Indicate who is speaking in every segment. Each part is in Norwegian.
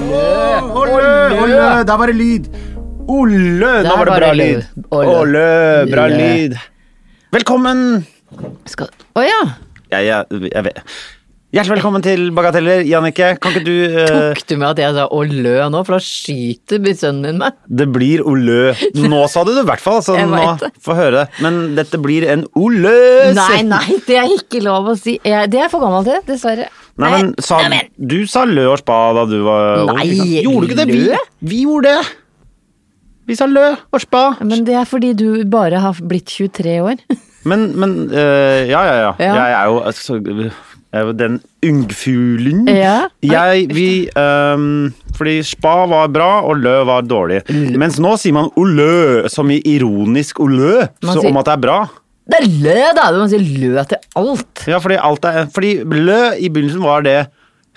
Speaker 1: Olle, Olle, der var det lyd. Olle, nå var
Speaker 2: Der
Speaker 1: det
Speaker 2: var
Speaker 1: bra
Speaker 2: det
Speaker 1: lyd.
Speaker 2: lyd. Olle.
Speaker 1: Olle, bra
Speaker 2: Olle.
Speaker 1: lyd. Velkommen.
Speaker 2: Skal... Å ja!
Speaker 1: Jeg, jeg, jeg vet. Hjertelig velkommen til Bagateller. Jannike, kan ikke du eh,
Speaker 2: Tok du med at jeg sa å lø nå, for da skyter sønnen min meg.
Speaker 1: Det blir Olle. Nå sa du det i hvert fall, så
Speaker 2: Jeg
Speaker 1: nå
Speaker 2: vet det.
Speaker 1: får høre det. Men dette blir en Olle.
Speaker 2: Nei, nei, det er ikke lov å si. Eh, Det er jeg for gammel til, dessverre.
Speaker 1: Nei, men sa, Du sa lø og spa da du var ung,
Speaker 2: Nei,
Speaker 1: ikke sant? Gjorde du ikke det?
Speaker 2: lø?
Speaker 1: Vi, vi gjorde det. Vi sa lø og spa.
Speaker 2: Men det er fordi du bare har blitt 23 år.
Speaker 1: Men, men øh, ja, ja, ja,
Speaker 2: Ja.
Speaker 1: Jeg er jo altså, jeg er jo den ungfuglen.
Speaker 2: Ja.
Speaker 1: Jeg, vi øhm, Fordi spa var bra, og lø var dårlig. Mens nå sier man olø, som i ironisk olø,
Speaker 2: Man
Speaker 1: så
Speaker 2: sier-
Speaker 1: om at det er bra.
Speaker 2: Det er lø, da! Du må si lø til alt.
Speaker 1: Ja, fordi, alt er, fordi lø i begynnelsen var det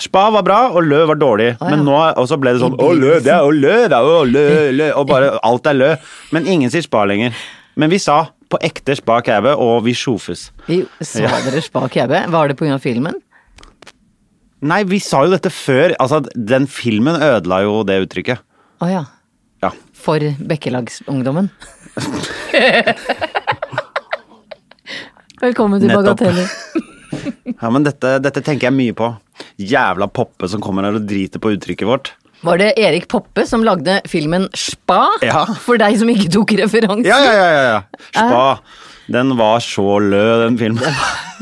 Speaker 1: Spa var bra, og lø var dårlig.
Speaker 2: ja.
Speaker 1: Men nå og så ble det sånn
Speaker 2: I
Speaker 1: Å, lø, det er jo lø, det er jo lø, lø Og bare alt er lø. Men ingen sier spa lenger. Men vi sa på ekte spa kæve, og vi sjofes.
Speaker 2: Vi så dere spa kjeve. Var det pga. filmen?
Speaker 1: Nei, vi sa jo dette før. Altså, den filmen ødela jo det uttrykket.
Speaker 2: Å ja.
Speaker 1: Ja.
Speaker 2: For bekkelagsungdommen. Velkommen til
Speaker 1: Nettopp.
Speaker 2: Bagateller.
Speaker 1: ja men dette, dette tenker jeg mye på. Jævla Poppe som kommer her og driter på uttrykket vårt.
Speaker 2: Var det Erik Poppe som lagde filmen Spa?
Speaker 1: Ja.
Speaker 2: For deg som ikke tok referansen.
Speaker 1: Ja, ja, ja, ja, ja. Spa. Den var så lø, den filmen.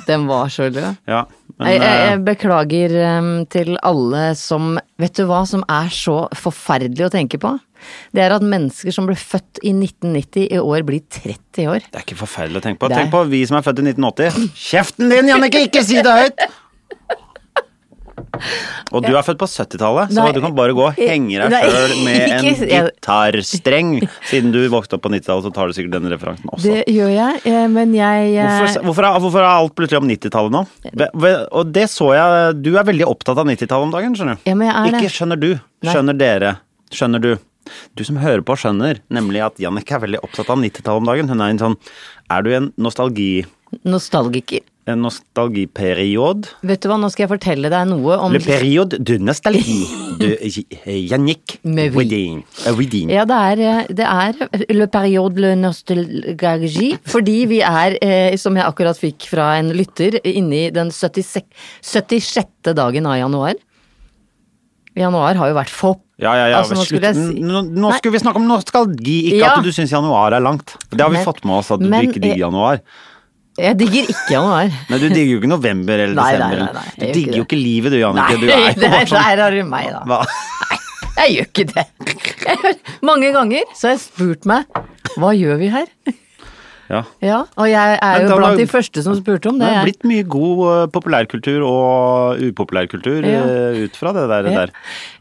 Speaker 2: Den var så lø.
Speaker 1: Ja, men
Speaker 2: Jeg, jeg,
Speaker 1: eh,
Speaker 2: jeg beklager em, til alle som Vet du hva som er så forferdelig å tenke på? Det er at mennesker som ble født i 1990 i år, blir 30 år.
Speaker 1: det er ikke forferdelig å tenke på.
Speaker 2: Det er-
Speaker 1: Tenk på vi som er født i 1980. Kjeften din, Jannicke! Ikke si det høyt! Og du er født på 70-tallet, så
Speaker 2: Nei.
Speaker 1: du kan bare gå og henge deg
Speaker 2: Nei,
Speaker 1: sjøl med en
Speaker 2: ikke- jeg-
Speaker 1: gitarstreng. Siden du vokste opp på 90-tallet, så tar du sikkert den referansen også.
Speaker 2: Det gjør jeg, eh, men jeg eh,
Speaker 1: Hvorfor, hvorfor, er, hvorfor er alt plutselig om 90-tallet nå? Ve- ve- Og det så jeg Du er veldig opptatt av 90-tallet om dagen, skjønner du.
Speaker 2: Ja, men jeg er det.
Speaker 1: Ikke skjønner du.
Speaker 2: Nei.
Speaker 1: Skjønner dere. Skjønner du. Du som hører på, skjønner nemlig at Jannicke er veldig opptatt av 90-tallet om dagen. Hun er en sånn Er du i en nostalgi...
Speaker 2: Nostalgiker.
Speaker 1: En nostalgiperiod?
Speaker 2: Vet du hva, nå skal jeg fortelle deg noe om
Speaker 1: Le periode de nostalgi de Jannik
Speaker 2: Mais oui.
Speaker 1: Wedding. Eh, Wedding.
Speaker 2: Ja, det er, eh, det er le periode le nostalgie, fordi vi er, eh, som jeg akkurat fikk fra en lytter, inne i den 76, 76. dagen av januar. Januar har jo vært fopp.
Speaker 1: Ja, ja, ja.
Speaker 2: Altså, nå
Speaker 1: slutt.
Speaker 2: skulle jeg si-
Speaker 1: Nå, nå
Speaker 2: Nei.
Speaker 1: skulle vi snakke om nostalgi, ikke
Speaker 2: Ja.
Speaker 1: at du syns januar er langt. Det har vi
Speaker 2: Men-
Speaker 1: fått med oss, at du
Speaker 2: men-
Speaker 1: ikke digger januar.
Speaker 2: Jeg digger ikke januar.
Speaker 1: Nei, du digger jo ikke november eller
Speaker 2: Nei, nei,
Speaker 1: desember.
Speaker 2: nei, nei, jeg
Speaker 1: du
Speaker 2: gjør
Speaker 1: digger
Speaker 2: ikke
Speaker 1: jo ikke livet du, Jannicke.
Speaker 2: Nei,
Speaker 1: Du er jo
Speaker 2: der,
Speaker 1: bare sånn
Speaker 2: der har du meg, da.
Speaker 1: hva?
Speaker 2: Jeg gjør ikke det. Jeg gjør- Mange ganger så har jeg spurt meg hva gjør vi her?
Speaker 1: Ja.
Speaker 2: Ja, Og jeg er
Speaker 1: Men da
Speaker 2: jo
Speaker 1: var-
Speaker 2: blant de første som spurte om
Speaker 1: Det
Speaker 2: det.
Speaker 1: er
Speaker 2: jeg.
Speaker 1: blitt mye god eh, populærkultur og upopulærkultur
Speaker 2: Ja.
Speaker 1: eh, ut fra det der, det
Speaker 2: Ja.
Speaker 1: der.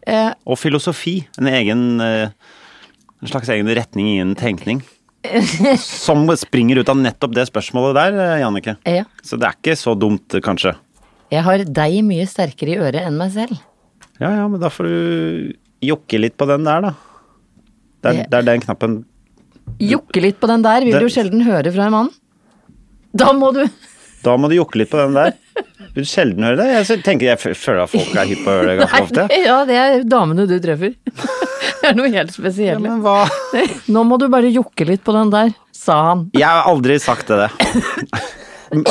Speaker 2: Eh,
Speaker 1: Og filosofi. En egen eh, En slags egen retning innen tenkning. Som springer ut av nettopp det spørsmålet der, eh, Jannicke.
Speaker 2: Ja.
Speaker 1: Så det er ikke så dumt, eh, kanskje.
Speaker 2: Jeg har deg mye sterkere i øret enn meg selv.
Speaker 1: Ja ja, men da får du jokke litt på den der, da. Det er,
Speaker 2: Ja.
Speaker 1: det er den knappen
Speaker 2: Jokke litt på den der vil
Speaker 1: Det-
Speaker 2: du sjelden høre fra en mann. Da må du
Speaker 1: Da må du jokke litt på den der. Vil du sjelden høre det? Jeg sy- tenker, jeg f- føler at folk er hypp på å høre det ganske ofte.
Speaker 2: Ja, det er damene du treffer. Det er noe helt
Speaker 1: Ja,
Speaker 2: spesielt.
Speaker 1: men hva?
Speaker 2: Nå må du bare jokke litt på den der, sa han.
Speaker 1: Jeg har aldri sagt det. det.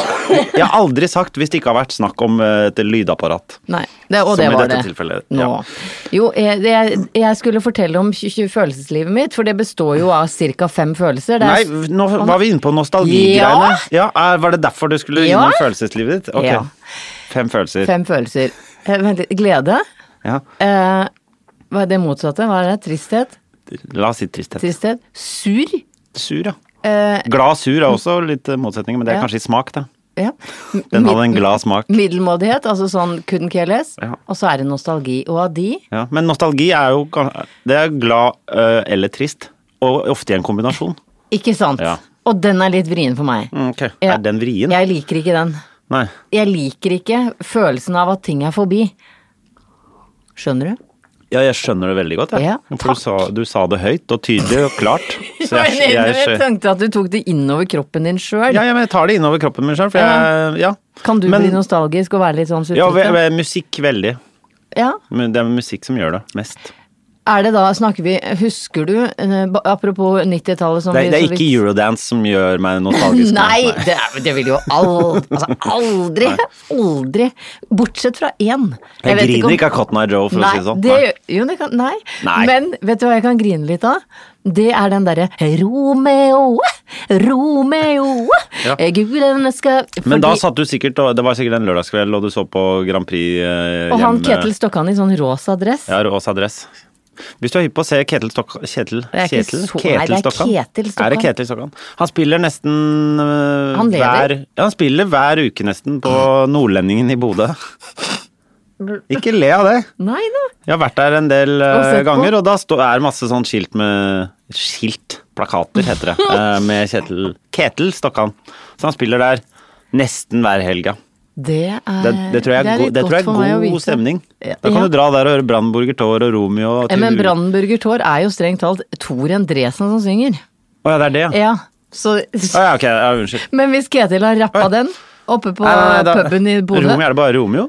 Speaker 1: Jeg har aldri sagt hvis det ikke har vært snakk om eh, et lydapparat.
Speaker 2: Nei, det, og
Speaker 1: Som
Speaker 2: det
Speaker 1: i
Speaker 2: var
Speaker 1: dette
Speaker 2: det.
Speaker 1: tilfellet,
Speaker 2: Nå.
Speaker 1: ja.
Speaker 2: Jo, jeg, jeg, jeg skulle fortelle om tj- tj- følelseslivet mitt, for det består jo av ca. fem følelser. Det
Speaker 1: Nei,
Speaker 2: er-
Speaker 1: nå var vi inne på nostalgigreiene. Ja, eh, Var det derfor du skulle
Speaker 2: Ja.
Speaker 1: innom følelseslivet ditt? Ok.
Speaker 2: Ja.
Speaker 1: Fem følelser.
Speaker 2: Fem følelser. Eh, Vent litt. Glede.
Speaker 1: Ja.
Speaker 2: Eh, hva er det motsatte? Hva er det? Tristhet?
Speaker 1: La oss si tristhet.
Speaker 2: Tristhet. Sur.
Speaker 1: Sur, ja.
Speaker 2: Eh,
Speaker 1: Glad sur er også litt eh, motsetninger, men det er
Speaker 2: Ja.
Speaker 1: kanskje i smak, da.
Speaker 2: ja.
Speaker 1: Den hadde en
Speaker 2: Mid-
Speaker 1: glad smak.
Speaker 2: Middelmådighet, altså sånn couldn't care less.
Speaker 1: Ja.
Speaker 2: Og så er det nostalgi. Og av de
Speaker 1: Ja. Men nostalgi er jo ga- Det er glad eh, eller trist, og ofte i en kombinasjon.
Speaker 2: Ikke sant?
Speaker 1: Ja. Mm.
Speaker 2: Og den er litt vrien for meg. Ja.
Speaker 1: Er den vrien?
Speaker 2: Jeg liker ikke den.
Speaker 1: Nei.
Speaker 2: Jeg liker ikke følelsen av at ting er forbi. Skjønner du?
Speaker 1: Ja, jeg skjønner det veldig godt. jeg.
Speaker 2: Ja,
Speaker 1: For du sa, du sa det høyt og tydelig og klart. Så jeg,
Speaker 2: Jeg,
Speaker 1: jeg, skjø-
Speaker 2: tenkte at du tok det innover kroppen din sjøl.
Speaker 1: ja, ja, men jeg tar det innover kroppen min sjøl, for jeg Ja.
Speaker 2: Kan du
Speaker 1: men,
Speaker 2: bli nostalgisk og være litt sånn
Speaker 1: Ja, ve-
Speaker 2: sutrete?
Speaker 1: ve- musikk veldig.
Speaker 2: Ja.
Speaker 1: Men Det er musikk som gjør det mest.
Speaker 2: Er det da, snakker vi Husker du, eh, ba- apropos 90-tallet som
Speaker 1: Det,
Speaker 2: vi
Speaker 1: er- det er
Speaker 2: så vidt-
Speaker 1: ikke eurodance som gjør meg nostalgisk.
Speaker 2: Nei, det, er- det vil jo aldri, altså aldri, aldri. Bortsett fra én.
Speaker 1: Jeg,
Speaker 2: vet
Speaker 1: griner
Speaker 2: om-
Speaker 1: ikke av Cotton Eye Joe, for
Speaker 2: nei,
Speaker 1: å si det sånn.
Speaker 2: Det,
Speaker 1: Nei.
Speaker 2: gjør- jo, det kan, nei.
Speaker 1: Nei.
Speaker 2: Men vet du hva jeg kan grine litt av? Det er den derre Romeo, Romeo,
Speaker 1: Ja.
Speaker 2: eh, gudene skal
Speaker 1: Men da
Speaker 2: fordi-
Speaker 1: satt du sikkert, og det var sikkert en lørdagskveld, og du så på Grand Prix eh,
Speaker 2: Og han
Speaker 1: hjemme.
Speaker 2: Ketil Stokkan i sånn rosa dress.
Speaker 1: Ja, Åsa Dress. Hvis du er hypp på å se Ketil Stokk... Kjetil?
Speaker 2: er ikke
Speaker 1: Kjetil?
Speaker 2: så- nei, det er Ketil Stokkan.
Speaker 1: Er det Ketil Stokkan? Han spiller nesten øh,
Speaker 2: Han lever.
Speaker 1: hver Ja, han spiller hver uke nesten på Nordlendingen i Bodø. Ikke le av det.
Speaker 2: Nei da.
Speaker 1: Jeg har vært der en del øh,
Speaker 2: Og sett på.
Speaker 1: ganger, og da stå, er det masse sånn skilt med Skilt? Plakater, heter det. øh, med Kjetil Ketil Stokkan. Så han spiller der nesten hver helg, ja.
Speaker 2: Det er,
Speaker 1: Det, det tror jeg
Speaker 2: Eh,
Speaker 1: er,
Speaker 2: det er
Speaker 1: go
Speaker 2: litt
Speaker 1: det tror jeg
Speaker 2: godt for meg
Speaker 1: er
Speaker 2: å
Speaker 1: god
Speaker 2: vite.
Speaker 1: stemning.
Speaker 2: Ja.
Speaker 1: Da kan du dra der og høre Brannburger Tor og Romeo. Og
Speaker 2: Ja, Men
Speaker 1: Tudor.
Speaker 2: Brandenburger Tor er jo strengt talt Tor Endresen som synger.
Speaker 1: Å ja, det er det, ja.
Speaker 2: Ja, så
Speaker 1: Å ja, ok, ja, unnskyld.
Speaker 2: Men hvis Ketil har rappa den oppe på
Speaker 1: Nei, nei, nei, da-
Speaker 2: puben i Bodø
Speaker 1: Romeo, er det bare Romeo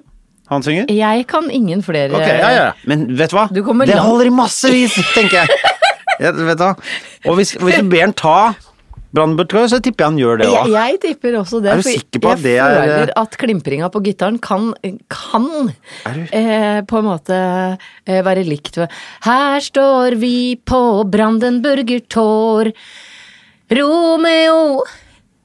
Speaker 1: han synger?
Speaker 2: Jeg kan ingen flere
Speaker 1: Ok, ja, ja. Men vet du hva?
Speaker 2: Du kommer
Speaker 1: det
Speaker 2: langt.
Speaker 1: holder i massevis, tenker jeg. Ja, vet du hva? Og hvis, hvis du ber han ta Brandenburg Tor, så tipper jeg han gjør det
Speaker 2: Jeg,
Speaker 1: òg.
Speaker 2: jeg tipper også det.
Speaker 1: Er du
Speaker 2: for
Speaker 1: sikker på at det
Speaker 2: Jeg
Speaker 1: er- eh,
Speaker 2: føler at klimpringa på gitaren kan, kan
Speaker 1: Er du-
Speaker 2: eh, på en måte eh, være likt ved Her står vi på Brandenburger Tor. Romeo,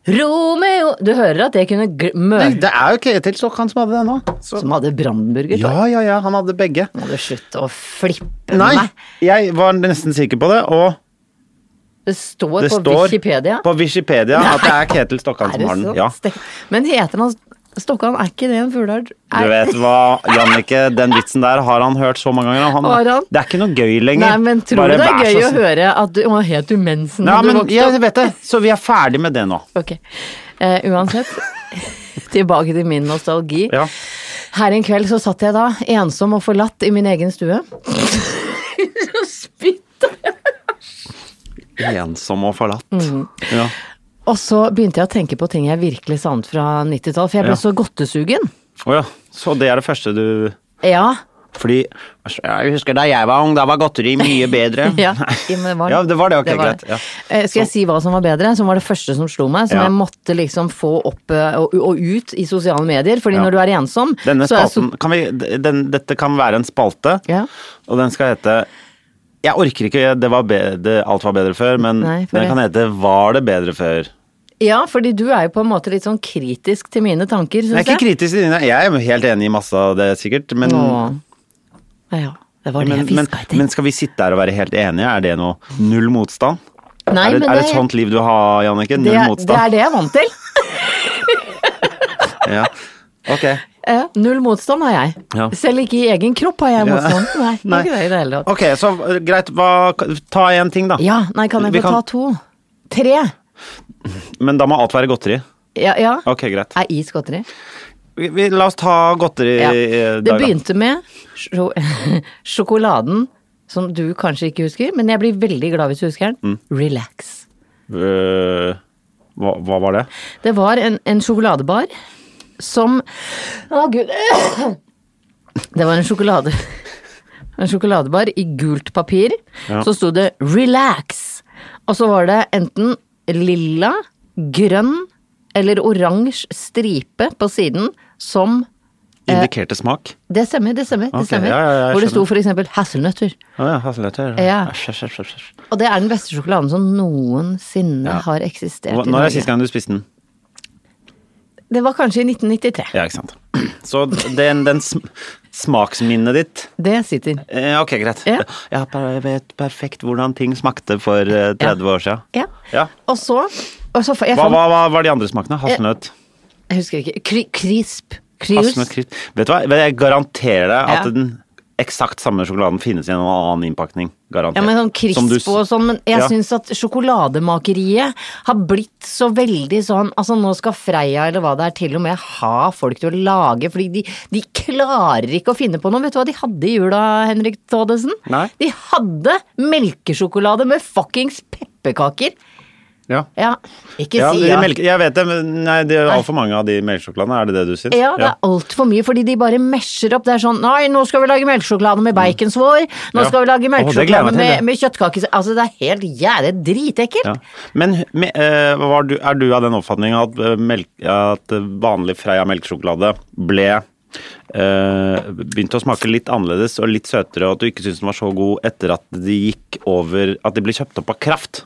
Speaker 2: Romeo Du hører at jeg kunne gl- møte
Speaker 1: Det er jo Ketil Stokkan som hadde det nå. Så.
Speaker 2: som hadde Brandenburger Tor.
Speaker 1: Ja, ja, ja, han hadde begge.
Speaker 2: Må du slutte å flippe
Speaker 1: Nei,
Speaker 2: meg?
Speaker 1: jeg var nesten sikker på det, og
Speaker 2: Det står
Speaker 1: det
Speaker 2: på
Speaker 1: står
Speaker 2: Wikipedia.
Speaker 1: på Wikipedia at det er Ketil Stokkan
Speaker 2: Er
Speaker 1: som
Speaker 2: det
Speaker 1: har den.
Speaker 2: så?
Speaker 1: Ja.
Speaker 2: Stek- Men heter han Stokkan, er ikke det en fugleart?
Speaker 1: Du
Speaker 2: Er-
Speaker 1: vet hva, Jannicke, den vitsen der har han hørt så mange ganger. og Han,
Speaker 2: Har han?
Speaker 1: Det er ikke noe gøy lenger.
Speaker 2: Nei, men tror
Speaker 1: Bare
Speaker 2: du det
Speaker 1: vær
Speaker 2: er
Speaker 1: så
Speaker 2: gøy å
Speaker 1: snill.
Speaker 2: høre at du Å, het du
Speaker 1: Ja,
Speaker 2: mensen da du
Speaker 1: men
Speaker 2: vokste
Speaker 1: jeg
Speaker 2: opp?
Speaker 1: vet det, så vi er ferdig med det nå.
Speaker 2: Ok. Eh, uansett. Tilbake til min nostalgi.
Speaker 1: Ja.
Speaker 2: Her en kveld så satt jeg da, ensom og forlatt i min egen stue. Så spytta jeg.
Speaker 1: Ensom og forlatt.
Speaker 2: Mhm.
Speaker 1: Ja.
Speaker 2: Og så begynte jeg å tenke på ting jeg virkelig savnet fra 90-tall, for jeg ble
Speaker 1: Ja.
Speaker 2: så godtesugen.
Speaker 1: Å ja. Så det er det første du
Speaker 2: Ja.
Speaker 1: Fordi Jeg husker da jeg var ung, da var godteri mye bedre.
Speaker 2: Ja, ja, men
Speaker 1: Ja, det var det, ok, greit,
Speaker 2: det.
Speaker 1: ja.
Speaker 2: Eh, Skal jeg si hva som var bedre, som var det første som slo meg, som
Speaker 1: Ja.
Speaker 2: jeg måtte liksom få opp eh, og, og ut i sosiale medier, fordi
Speaker 1: Ja.
Speaker 2: når du er ensom,
Speaker 1: Denne
Speaker 2: så er so-
Speaker 1: spalten kan vi, d- den, Dette kan være en spalte,
Speaker 2: Ja.
Speaker 1: og den skal hete Jeg orker ikke det var bedre, alt var bedre før, men
Speaker 2: Nei, for
Speaker 1: den
Speaker 2: det-
Speaker 1: kan hete Var det bedre før?
Speaker 2: Ja, fordi du er jo på en måte litt sånn kritisk til mine tanker,
Speaker 1: Jeg
Speaker 2: syns
Speaker 1: er
Speaker 2: jeg.
Speaker 1: ikke kritisk til dine. Jeg er jo helt enig i masse av det, sikkert. Men,
Speaker 2: Å, ja, det var
Speaker 1: men,
Speaker 2: det jeg
Speaker 1: men,
Speaker 2: fiska etter.
Speaker 1: men skal vi sitte her og være helt enige? Er det noe null motstand?
Speaker 2: Nei,
Speaker 1: er det,
Speaker 2: men
Speaker 1: er det et
Speaker 2: det-
Speaker 1: sånt liv du har, Jannicke? Null
Speaker 2: det, er- det er
Speaker 1: motstand?
Speaker 2: det jeg er vant til.
Speaker 1: Ja. Ok.
Speaker 2: Eh, Null motstand har jeg.
Speaker 1: Ja.
Speaker 2: Selv ikke i egen kropp har jeg
Speaker 1: Ja.
Speaker 2: motstand. Nei, det
Speaker 1: Nei.
Speaker 2: er ikke det i det hele tatt.
Speaker 1: Ok, så eh, greit. Hva, ta én ting, da.
Speaker 2: Ja, nei, kan jeg
Speaker 1: Vi
Speaker 2: få ta to? Tre?
Speaker 1: Men da må alt være godteri.
Speaker 2: Ja, ja.
Speaker 1: Ok, greit.
Speaker 2: Er is godteri?
Speaker 1: Vi, vi, la oss ta godteri
Speaker 2: Ja.
Speaker 1: eh,
Speaker 2: Det
Speaker 1: dag, da.
Speaker 2: begynte med sjo- sjokoladen, som du kanskje ikke husker, men jeg blir veldig glad hvis du husker
Speaker 1: Mm.
Speaker 2: den. Relax.
Speaker 1: Øh, hva, hva var det?
Speaker 2: Det var en, en sjokoladebar som Å, gud. Det var en sjokolade... En sjokoladebar i gult papir.
Speaker 1: Ja.
Speaker 2: Så sto det 'relax'. Og så var det enten lilla, grønn eller oransje stripe på siden som Eh.
Speaker 1: Indikerte smak?
Speaker 2: Det stemmer, det stemmer. det
Speaker 1: Ok,
Speaker 2: stemmer.
Speaker 1: ja, ja, jeg
Speaker 2: Hvor det sto
Speaker 1: skjønner.
Speaker 2: for eksempel 'hasselnøtter'.
Speaker 1: Å ja, hasselnøtter.
Speaker 2: Ja.
Speaker 1: Æsj, æsj, æsj, æsj, æsj.
Speaker 2: Og det er den beste sjokoladen som noensinne
Speaker 1: Ja.
Speaker 2: har eksistert
Speaker 1: Hva-
Speaker 2: i
Speaker 1: Når er
Speaker 2: Norge.
Speaker 1: sist gang du spiste den?
Speaker 2: Det var kanskje i 1993.
Speaker 1: Ja, ikke sant. Så den, den sm smaksminnet ditt
Speaker 2: Det sitter.
Speaker 1: eh, Ok, greit.
Speaker 2: Ja.
Speaker 1: Jeg per vet perfekt hvordan ting smakte for eh, 30 år siden.
Speaker 2: Ja.
Speaker 1: Ja.
Speaker 2: Og så, og så fa- jeg,
Speaker 1: Hva,
Speaker 2: fant, Eh,
Speaker 1: hva, hva var de andre smakene? Hasselnøtt?
Speaker 2: jeg husker ikke. Kri, krisp. Krius.
Speaker 1: Hasselnøtt crisp. Vet du hva, jeg garanterer deg at
Speaker 2: Ja.
Speaker 1: den eksakt samme sjokoladen finnes i en annen innpakning. Garantert.
Speaker 2: Ja, men sånn
Speaker 1: Som du s-
Speaker 2: krisp og sånn, men jeg
Speaker 1: Ja.
Speaker 2: synes syns at sjokolademakeriet har blitt så veldig sånn Altså, nå skal Freia eller hva det er, til og med ha folk til å lage, fordi de, de klarer ikke å finne på noe. Vet du hva de hadde i jula, Henrik Thodesen?
Speaker 1: Nei.
Speaker 2: De hadde melkesjokolade med fuckings pepperkaker!
Speaker 1: Ja.
Speaker 2: Ja, ikke
Speaker 1: Ja,
Speaker 2: si
Speaker 1: de
Speaker 2: ja.
Speaker 1: melke, jeg vet det, men nei, det er altfor mange av de melkesjokoladene. Er det det du syns?
Speaker 2: Ja, det er altfor mye, fordi de bare mesjer opp. Det er sånn Nei, nå skal vi lage melkesjokolade med baconsvår. Nå
Speaker 1: Ja.
Speaker 2: skal vi
Speaker 1: Åh, det gleder
Speaker 2: lage
Speaker 1: jeg
Speaker 2: melkesjokolade
Speaker 1: meg til, det.
Speaker 2: med, med kjøttkake Altså, det er helt jævlig dritekkelt.
Speaker 1: Ja. Men me- eh, var du, er du av den oppfatning at, eh, melk, at vanlig Freia melkesjokolade ble eh, begynte å smake litt annerledes og litt søtere, og at du ikke syntes den var så god etter at de gikk over At de ble kjøpt opp av Kraft?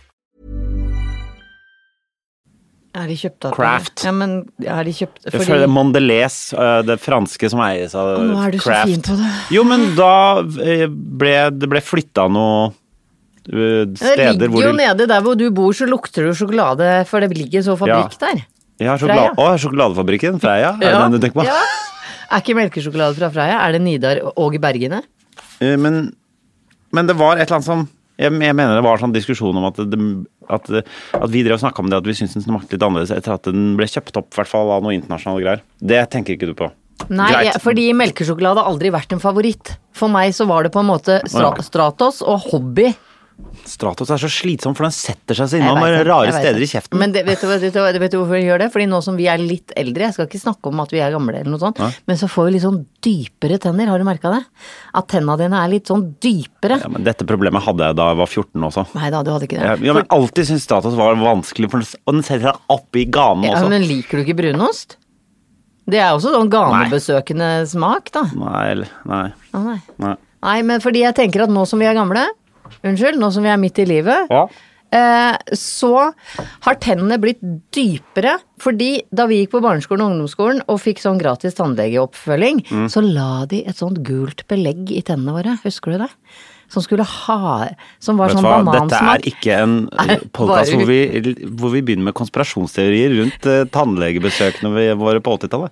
Speaker 2: Er de kjøpt opp?
Speaker 1: Kraft.
Speaker 2: Ja, men er de kjøpt
Speaker 1: Jeg
Speaker 2: fordi-
Speaker 1: føler Mondelez, eh, det franske som eies av
Speaker 2: Å, nå er du så
Speaker 1: Kraft.
Speaker 2: fin på det.
Speaker 1: Jo, men da eh, ble det ble flytta noe eh,
Speaker 2: Det
Speaker 1: steder
Speaker 2: ligger
Speaker 1: hvor
Speaker 2: jo
Speaker 1: du
Speaker 2: nede der hvor du bor, så lukter det jo sjokolade, for det ligger en sånn fabrikk der.
Speaker 1: Ja, sjokolade,
Speaker 2: Freia.
Speaker 1: Å, sjokoladefabrikken Freia? Er det den du tenker på?
Speaker 2: Ja. Er ikke melkesjokolade fra Freia? Er det Nidar og Bergene?
Speaker 1: Eh, Men, men det var et eller annet som jeg, jeg mener det var sånn diskusjon om at, det, at, det, at vi drev og snakka om det at vi syntes den smakte litt annerledes etter at den ble kjøpt opp i hvert fall av noe internasjonale greier. Det tenker ikke du på.
Speaker 2: Nei,
Speaker 1: Greit.
Speaker 2: jeg, fordi melkesjokolade har aldri vært en favoritt. For meg så var det på en måte stra
Speaker 1: Å, ja.
Speaker 2: Stratos og hobby.
Speaker 1: Stratos er så slitsom, for den setter seg så
Speaker 2: Jeg
Speaker 1: innom
Speaker 2: vet det,
Speaker 1: rare
Speaker 2: jeg vet
Speaker 1: steder i
Speaker 2: det.
Speaker 1: kjeften.
Speaker 2: Men det, vet, du, hva- vet, du, hva- vet du hvorfor vi gjør det? Fordi nå som vi er litt eldre, jeg skal ikke snakke om at vi er gamle eller noe sånt, men så får vi litt sånn dypere tenner, har du merka det? At tenna dine er litt sånn dypere.
Speaker 1: Ja, men dette problemet hadde jeg da jeg var 14 også.
Speaker 2: Nei da, du hadde ikke det.
Speaker 1: Jeg, ja, men alltid syntes Stratos var vanskelig, for den, og den setter seg opp i ganen
Speaker 2: Ja,
Speaker 1: også.
Speaker 2: men liker du ikke brunost? Det er også sånn ganebesøkende smak, da.
Speaker 1: Nei, eller- nei,
Speaker 2: Å, nei.
Speaker 1: nei.
Speaker 2: nei, men fordi jeg tenker at nå som vi er gamle, unnskyld, nå som vi er midt i livet, eh, så har tennene blitt dypere. Fordi da vi gikk på barneskolen og ungdomsskolen og fikk sånn gratis tannlegeoppfølging,
Speaker 1: Mm.
Speaker 2: så la de et sånt gult belegg i tennene våre, husker du det? Som skulle ha Som var
Speaker 1: Vet du
Speaker 2: sånn
Speaker 1: hva, dette er
Speaker 2: banansmak.
Speaker 1: ikke en
Speaker 2: Nei,
Speaker 1: podkast
Speaker 2: bare-
Speaker 1: hvor, vi- hvor vi begynner med konspirasjonsteorier rundt eh, tannlegebesøkene vi- våre på 80-tallet.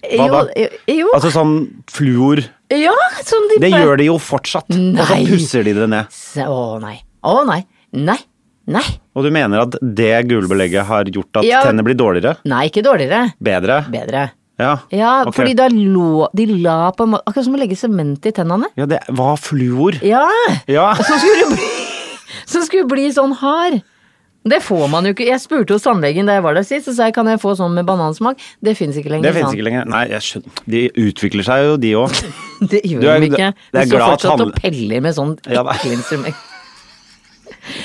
Speaker 1: Hva
Speaker 2: jo,
Speaker 1: da?
Speaker 2: jo,
Speaker 1: Altså sånn fluor
Speaker 2: ja, som de
Speaker 1: Det gjør de jo fortsatt, og så
Speaker 2: Nei.
Speaker 1: pusser de det ned.
Speaker 2: Se- Å nei. Å nei. Nei. Nei.
Speaker 1: Og du mener at det gulbelegget har gjort at
Speaker 2: Ja.
Speaker 1: tennene blir dårligere?
Speaker 2: Nei, ikke dårligere.
Speaker 1: Bedre?
Speaker 2: Bedre.
Speaker 1: Ja,
Speaker 2: Ja,
Speaker 1: ok.
Speaker 2: fordi da lå De la på en måte Akkurat som å legge sement i tennene.
Speaker 1: ja, det var fluor.
Speaker 2: Ja!
Speaker 1: Ja.
Speaker 2: Som skulle bli sånn hard. Det får man jo ikke. Jeg spurte hos tannlegen da jeg var der sist, og sa jeg kan jeg få sånn med banansmak. Det fins ikke lenger.
Speaker 1: Det finnes ikke lenger. Nei, jeg skjønner. De utvikler seg jo, de òg.
Speaker 2: lenger. Det gjør
Speaker 1: Du er-
Speaker 2: de ikke.
Speaker 1: det er
Speaker 2: De står
Speaker 1: glad at
Speaker 2: fortsatt
Speaker 1: han-
Speaker 2: og peller med sånn
Speaker 1: Ja, da.
Speaker 2: ekle instrument.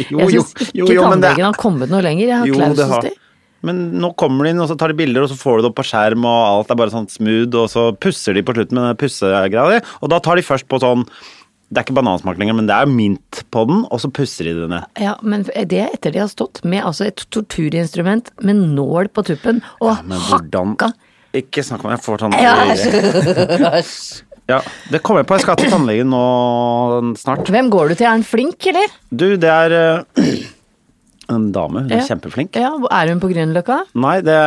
Speaker 1: Jo,
Speaker 2: Jeg
Speaker 1: jo,
Speaker 2: syns
Speaker 1: jo,
Speaker 2: ikke
Speaker 1: jo, men det
Speaker 2: tannlegen har kommet noe lenger. Jeg har
Speaker 1: Jo, det har.
Speaker 2: klausustyr.
Speaker 1: Men nå kommer de inn, og så tar de bilder, og så får du det opp på skjerm, og alt er bare sånn smooth, og så pusser de på slutten med den pussegreia di, og da tar de først på sånn Det er ikke banansmak lenger, men det er mint på den, og så pusser de det ned.
Speaker 2: Ja, men det er etter de har stått med altså et torturinstrument med nål på tuppen og
Speaker 1: Men hvordan
Speaker 2: hakka
Speaker 1: Ikke snakk om Jeg får sånn
Speaker 2: Æsj!
Speaker 1: Ja, det kommer jeg på. Jeg skal til tannlegen nå snart.
Speaker 2: Hvem går du til? Er han flink, eller?
Speaker 1: Du, det er eh, En dame. Hun er
Speaker 2: Ja.
Speaker 1: kjempeflink.
Speaker 2: Ja, Er hun på Grünerløkka?
Speaker 1: Nei, det,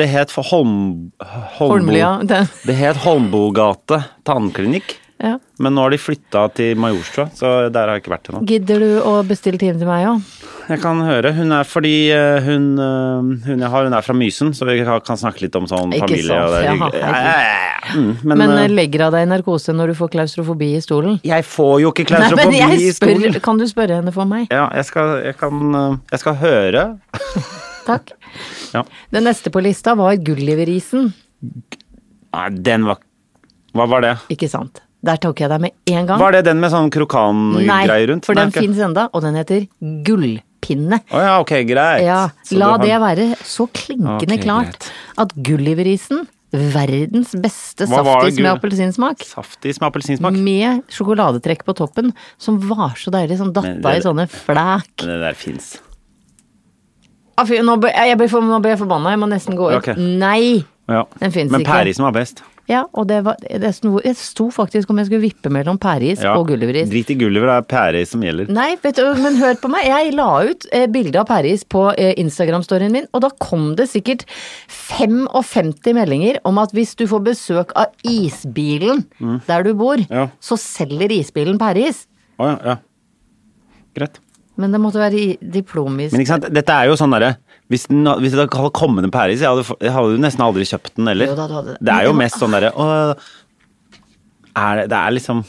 Speaker 1: det het for Holm... Holmbo-
Speaker 2: Holmlia? Den.
Speaker 1: Det het Holmbogate tannklinikk.
Speaker 2: Ja.
Speaker 1: Men nå har de flytta til Majorstua, så der har jeg ikke vært ennå.
Speaker 2: Gidder du å bestille time til meg òg?
Speaker 1: Jeg kan høre. Hun er fordi eh, hun, eh, hun jeg har, hun er fra Mysen, så vi kan kan snakke litt om sånn
Speaker 2: Ikke
Speaker 1: familie.
Speaker 2: sant,
Speaker 1: og det er
Speaker 2: jaha,
Speaker 1: hyggelig. Ja, ja, ja, ja. Mm, Men,
Speaker 2: Men
Speaker 1: eh,
Speaker 2: eh, legger av deg i narkose når du får klaustrofobi i stolen?
Speaker 1: jeg får jo ikke
Speaker 2: Nei, men
Speaker 1: klaustrofobi i
Speaker 2: jeg spør,
Speaker 1: skolen.
Speaker 2: kan du spørre henne for meg?
Speaker 1: Ja, jeg skal, jeg, kan, eh, jeg skal høre.
Speaker 2: Takk.
Speaker 1: Ja.
Speaker 2: Den neste på lista var Gulliverisen.
Speaker 1: Nei, den var Hva var det?
Speaker 2: Ikke sant? Der tok jeg deg med en gang.
Speaker 1: Var det den med sånn krokangreie rundt?
Speaker 2: for den
Speaker 1: ikke-
Speaker 2: fins enda, og den heter Gullpinne.
Speaker 1: Å ja, ok, greit.
Speaker 2: Ja,
Speaker 1: Så
Speaker 2: la
Speaker 1: du har-
Speaker 2: det være så klinkende
Speaker 1: Ok,
Speaker 2: klart
Speaker 1: greit.
Speaker 2: at Gulliverisen, verdens beste
Speaker 1: Hva var det,
Speaker 2: saftis med
Speaker 1: Gull-
Speaker 2: appelsinsmak,
Speaker 1: Saftis med appelsinsmak.
Speaker 2: med sjokoladetrekk på toppen, som var så deilig, som
Speaker 1: Men
Speaker 2: datt
Speaker 1: det-
Speaker 2: av i sånne flæk.
Speaker 1: Det der fins.
Speaker 2: Ah, fy, Nå ble jeg, ble for- nå ble jeg forbanna, jeg må nesten gå ut.
Speaker 1: Ok.
Speaker 2: Nei!
Speaker 1: Ja.
Speaker 2: Den finnes
Speaker 1: Men
Speaker 2: ikke.
Speaker 1: pæreisen var best.
Speaker 2: Ja, og det var det sto, Jeg sto faktisk om jeg skulle vippe mellom pæreis
Speaker 1: Ja.
Speaker 2: og gulliveris.
Speaker 1: Drit i Gulliver, det er pæreis som gjelder.
Speaker 2: Nei, vet du, men hør på meg. Jeg la ut eh, bilde av Paris på eh, Instagram-storyen min, og da kom det sikkert 55 meldinger om at hvis du får besøk av isbilen der du bor,
Speaker 1: Mm. Ja.
Speaker 2: så selger isbilen Paris.
Speaker 1: Å ja, ja. Greit.
Speaker 2: Men det måtte være i- diplomis.
Speaker 1: Men ikke sant, dette er jo sånn derre hvis, den- hvis det hadde kommet en pæreis, jeg hadde, få- jeg hadde jo nesten aldri kjøpt den heller.
Speaker 2: Jo da, du hadde det.
Speaker 1: Det er jo
Speaker 2: Men-
Speaker 1: mest sånn derre å, er det, det er liksom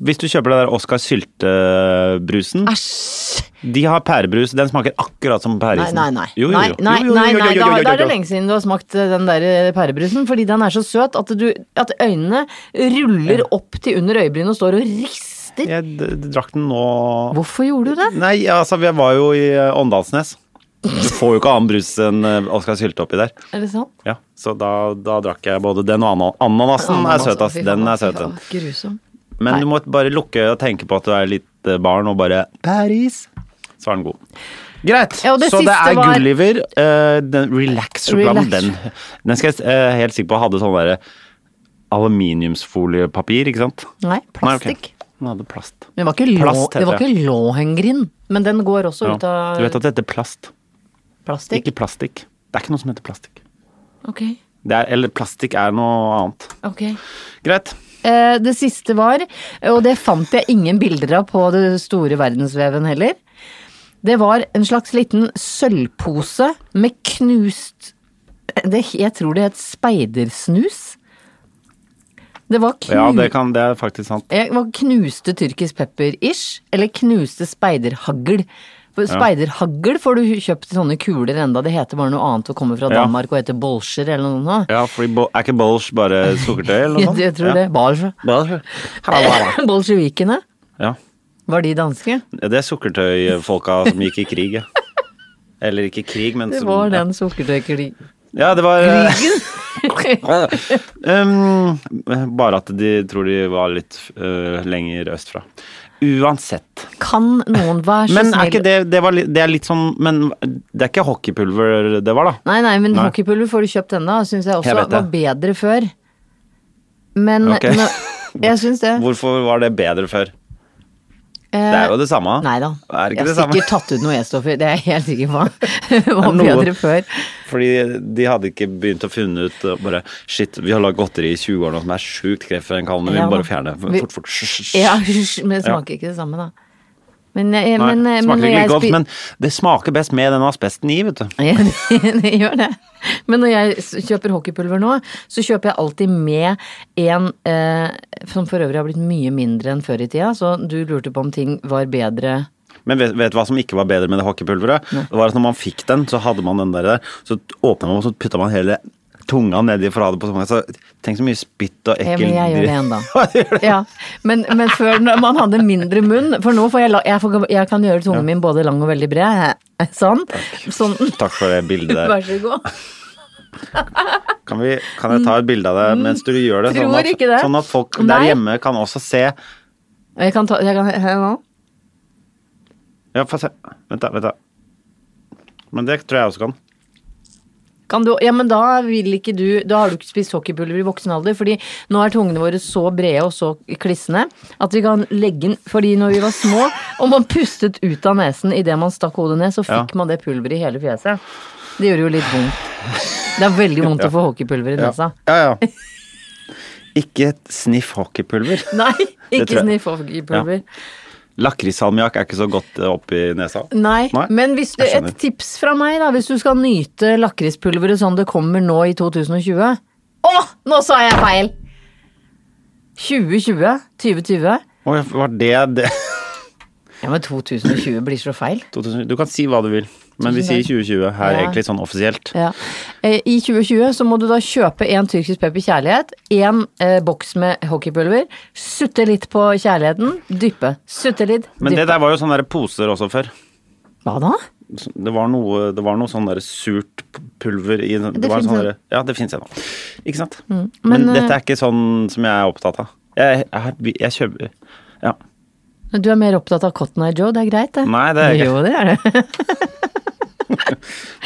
Speaker 1: Hvis du kjøper det der Oscar Sylte-brusen
Speaker 2: Æsj!
Speaker 1: De har pærebrus, den smaker akkurat som
Speaker 2: Nei,
Speaker 1: pærisen.
Speaker 2: nei, nei.
Speaker 1: liksom. Jo, jo, jo.
Speaker 2: Nei, nei,
Speaker 1: Jo, jo, jo,
Speaker 2: nei,
Speaker 1: jo,
Speaker 2: nei,
Speaker 1: jo, jo,
Speaker 2: da,
Speaker 1: jo,
Speaker 2: da er det
Speaker 1: jo.
Speaker 2: lenge siden du har smakt eh, den der eh, pærebrusen, fordi den er så søt at, du, at øynene ruller opp til under øyebrynene og står og rister.
Speaker 1: Jeg d- d- drakk den nå
Speaker 2: Hvorfor gjorde du det?
Speaker 1: Nei, altså, vi var jo i eh, Åndalsnes. Du får jo ikke annen brus enn eh, Oscar Sylte oppi der.
Speaker 2: Er det sant?
Speaker 1: Ja, så da, da drakk jeg både den og anan ananasen. er
Speaker 2: altså,
Speaker 1: søt, ass. Den er søt, den.
Speaker 2: Grusom.
Speaker 1: Men du må bare lukke og tenke på at du er litt eh, barn, og bare Paris! Så er den god. Greit.
Speaker 2: Ja, og det
Speaker 1: så det
Speaker 2: siste
Speaker 1: er
Speaker 2: var-
Speaker 1: Gulliver. eh, den Relax-sjokoladen,
Speaker 2: Relax.
Speaker 1: den, den skal jeg eh, helt sikker på hadde sånn derre aluminiumsfoliepapir, ikke sant?
Speaker 2: Nei,
Speaker 1: Nei,
Speaker 2: plastikk.
Speaker 1: ok. Den hadde plast.
Speaker 2: Det var ikke, lå,
Speaker 1: Plast heter
Speaker 2: det var ikke Lohengrin, men den går også
Speaker 1: Ja.
Speaker 2: ut av
Speaker 1: Du vet at det heter plast,
Speaker 2: plastikk.
Speaker 1: ikke plastikk. Det er ikke noe som heter plastikk.
Speaker 2: Ok,
Speaker 1: Det er, eller plastikk er noe annet.
Speaker 2: ok.
Speaker 1: Greit.
Speaker 2: Eh, det siste var, og det fant jeg ingen bilder av på det store verdensveven heller, det var en slags liten sølvpose med knust det, Jeg tror det het speidersnus. Det var knust
Speaker 1: Ja, det, kan, det er faktisk sant.
Speaker 2: Jeg var knuste tyrkisk pepper-ish, eller knuste speiderhagl. For Speiderhagl får du kjøpt i sånne kuler enda, det heter bare noe annet og kommer fra
Speaker 1: Ja.
Speaker 2: Danmark og heter bolsjer eller noe sånt.
Speaker 1: Ja, fordi bo- Er ikke bolsj bare sukkertøy, eller noe sånt?
Speaker 2: Jeg
Speaker 1: ja.
Speaker 2: tror det. Bolsje.
Speaker 1: Bolsj.
Speaker 2: Bolsjevikene,
Speaker 1: Ja.
Speaker 2: var de danske?
Speaker 1: Det er sukkertøyfolka som gikk i krig, ja. Eller ikke krig, men
Speaker 2: Det
Speaker 1: som
Speaker 2: var den sukkertøykrigen.
Speaker 1: Ja, det var eh, um, Bare at de tror de var litt øh, lenger østfra. Uansett.
Speaker 2: Kan noen være så
Speaker 1: Men
Speaker 2: snill
Speaker 1: er ikke det Det, var, litt- det er litt sånn Men det er ikke hockeypulver det var, da?
Speaker 2: Nei, nei, men
Speaker 1: Nei.
Speaker 2: hockeypulver får du kjøpt ennå, syns jeg også
Speaker 1: Jeg vet det.
Speaker 2: var bedre før. Men
Speaker 1: Ok.
Speaker 2: nå, jeg syns det.
Speaker 1: Hvorfor var det bedre før?
Speaker 2: Eh,
Speaker 1: Det er jo det samme.
Speaker 2: Nei da.
Speaker 1: Er det ikke
Speaker 2: Eh, jeg
Speaker 1: det
Speaker 2: har
Speaker 1: samme?
Speaker 2: sikkert tatt ut noe E-stoffer, det er jeg helt sikker på. var
Speaker 1: noe-
Speaker 2: bedre før.
Speaker 1: Fordi de hadde ikke begynt å finne ut uh, bare Shit, vi har lagd godteri i 20 år nå som er sjukt kreftfremkallende, vi
Speaker 2: Ja
Speaker 1: må bare
Speaker 2: da.
Speaker 1: fjerne
Speaker 2: Vi-
Speaker 1: fort, fort. Hysj.
Speaker 2: Ja, men det smaker ikke det samme, da. Men, eh,
Speaker 1: Nei,
Speaker 2: men, eh, men
Speaker 1: smaker
Speaker 2: når
Speaker 1: ikke
Speaker 2: jeg
Speaker 1: like godt,
Speaker 2: spi-
Speaker 1: men det smaker best med den asbesten i, vet du.
Speaker 2: det gjør det. Men når jeg s- kjøper hockeypulver nå, så kjøper jeg alltid med en eh, som for øvrig har blitt mye mindre enn før i tida, så du lurte på om ting var bedre
Speaker 1: Men vet, vet du hva som ikke var bedre med det hockeypulveret? Det var at når man fikk den, så hadde man den der, der så åpna man og så putta man hele tunga nedi for å ha det på tunga. Så tenk så mye spytt og
Speaker 2: Ja,
Speaker 1: ekkel
Speaker 2: men jeg gjør det
Speaker 1: dritt.
Speaker 2: ennå. Ja, men, men før når man hadde mindre munn, for nå får jeg, la- jeg, får, jeg kan gjøre tungen min både lang og veldig bred. Sånn. sånn.
Speaker 1: Takk for det bildet der.
Speaker 2: Vær så god.
Speaker 1: Kan, vi, kan jeg ta et bilde av deg mens du gjør det? Sånn
Speaker 2: Mm. Tror
Speaker 1: at,
Speaker 2: ikke det.
Speaker 1: sånn at folk der
Speaker 2: Nei.
Speaker 1: hjemme kan også se.
Speaker 2: Jeg kan ta jeg kan, her nå.
Speaker 1: Ja, få se. Vent, da. vent da. Men det tror jeg også kan.
Speaker 2: Kan du, ja, men da vil ikke du Da har du ikke spist hockeypulver i voksen alder, fordi nå er tungene våre så brede og så klissende at vi kan legge den Fordi når vi var små, Om man pustet ut av nesen idet man stakk hodet ned, så
Speaker 1: Ja.
Speaker 2: fikk man det pulveret i hele fjeset. Det gjorde jo litt vondt. Det er veldig vondt å få hockeypulver i nesa.
Speaker 1: Ja, ja. Ikke et sniff hockeypulver.
Speaker 2: Nei,
Speaker 1: Det tror
Speaker 2: ikke
Speaker 1: jeg.
Speaker 2: sniff hockeypulver.
Speaker 1: Lakrissalmiakk er ikke så godt eh, oppi nesa.
Speaker 2: Nei,
Speaker 1: Nei,
Speaker 2: men hvis du,
Speaker 1: jeg
Speaker 2: et
Speaker 1: skjønner.
Speaker 2: tips fra meg, da, hvis du skal nyte lakrispulveret sånn det kommer nå i 2020 Å, nå sa jeg feil! 2020? 2020?
Speaker 1: Oi, var det det?
Speaker 2: Ja, men 2020 blir så feil.
Speaker 1: 2000 Du kan si hva du vil, men vi
Speaker 2: Tusen
Speaker 1: sier 2020
Speaker 2: takk.
Speaker 1: her
Speaker 2: Ja.
Speaker 1: egentlig sånn offisielt.
Speaker 2: Ja. Eh, I 2020 så må du da kjøpe en tyrkisk pepper kjærlighet, en eh, boks med hockeypulver, sutte litt på kjærligheten, dyppe. Sutte litt, dyppe.
Speaker 1: Men det der var jo sånne der poser også før.
Speaker 2: Hva da?
Speaker 1: Så Det var noe, det var noe sånn der surt pulver i Det,
Speaker 2: Det
Speaker 1: var
Speaker 2: finnes
Speaker 1: sånn
Speaker 2: en-
Speaker 1: der- Ja, det fins ennå. Ikke sant? men
Speaker 2: men, eh,
Speaker 1: dette er ikke sånn som jeg er opptatt av. Jeg, jeg, jeg kjøper Ja.
Speaker 2: Du er mer opptatt av Cotton Eye Joe, det er greit det.
Speaker 1: Nei, det er jeg ikke.
Speaker 2: Jo, det er det.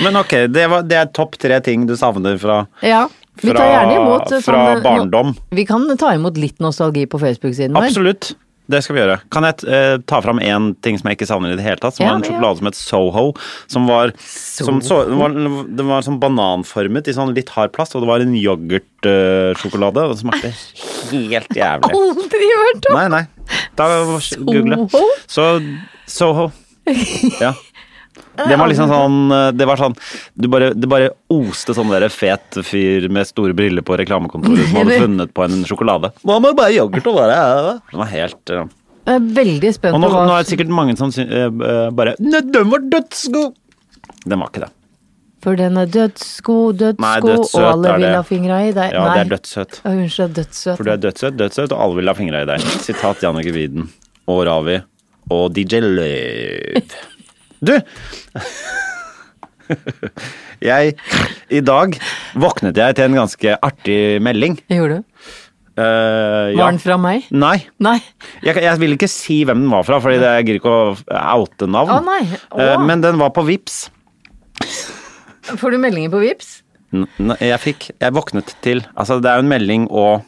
Speaker 1: Men ok, det, var, det er topp tre ting du savner fra
Speaker 2: Ja. Vi
Speaker 1: Fra-
Speaker 2: tar gjerne imot eh,
Speaker 1: fra
Speaker 2: sånne-
Speaker 1: barndom.
Speaker 2: nå- Vi kan ta imot litt nostalgi på Facebook-siden vår.
Speaker 1: Absolutt. Det skal vi gjøre. Kan jeg eh, ta fram én ting som jeg ikke savner i det hele tatt? Som
Speaker 2: Ja,
Speaker 1: var en
Speaker 2: ja.
Speaker 1: sjokolade som het Soho. Som var, som så, den var, den var sånn bananformet i sånn litt hard plast, og det var en yoghurtsjokolade. og den smakte helt jævlig.
Speaker 2: Aldri hørt om!
Speaker 1: Nei, nei. Da google.
Speaker 2: Soho?
Speaker 1: Så Soho. Ja. Det var liksom sånn eh, Det var sånn du bare, Det bare oste sånn der fet fyr med store briller på reklamekontoret som hadde funnet på en sjokolade. Hva med bare yoghurt og bare Den var helt eh,
Speaker 2: Jeg er veldig spent
Speaker 1: og
Speaker 2: på
Speaker 1: nå, nå
Speaker 2: hva
Speaker 1: er det sikkert mange som syn- eh, eh, bare Nei, den var dødsgod! Den var ikke det.
Speaker 2: For den er dødsgod,
Speaker 1: Nei,
Speaker 2: dødsgod,
Speaker 1: dødssøt
Speaker 2: og alle
Speaker 1: er
Speaker 2: vil
Speaker 1: det.
Speaker 2: ha fingra i deg.
Speaker 1: Ja,
Speaker 2: Nei.
Speaker 1: det er dødssøt.
Speaker 2: Å, Unnskyld, dødssøt.
Speaker 1: For du er dødssøt, dødssøt, og alle vil ha fingra i deg. Sitat Jannicke Wieden og Ravi og DJ Løv. Du! Jeg I dag våknet jeg til en ganske artig melding.
Speaker 2: Gjorde du?
Speaker 1: Eh, ja.
Speaker 2: Var den fra meg?
Speaker 1: Nei.
Speaker 2: Nei.
Speaker 1: Jeg, jeg vil ikke si hvem den var fra, Fordi det- jeg gidder ikke å oute navn.
Speaker 2: Å, nei. Å.
Speaker 1: Eh, men den var på Vips
Speaker 2: Får du meldinger på Vips?
Speaker 1: N- Nei, jeg fikk Jeg våknet til Altså, det er jo en melding og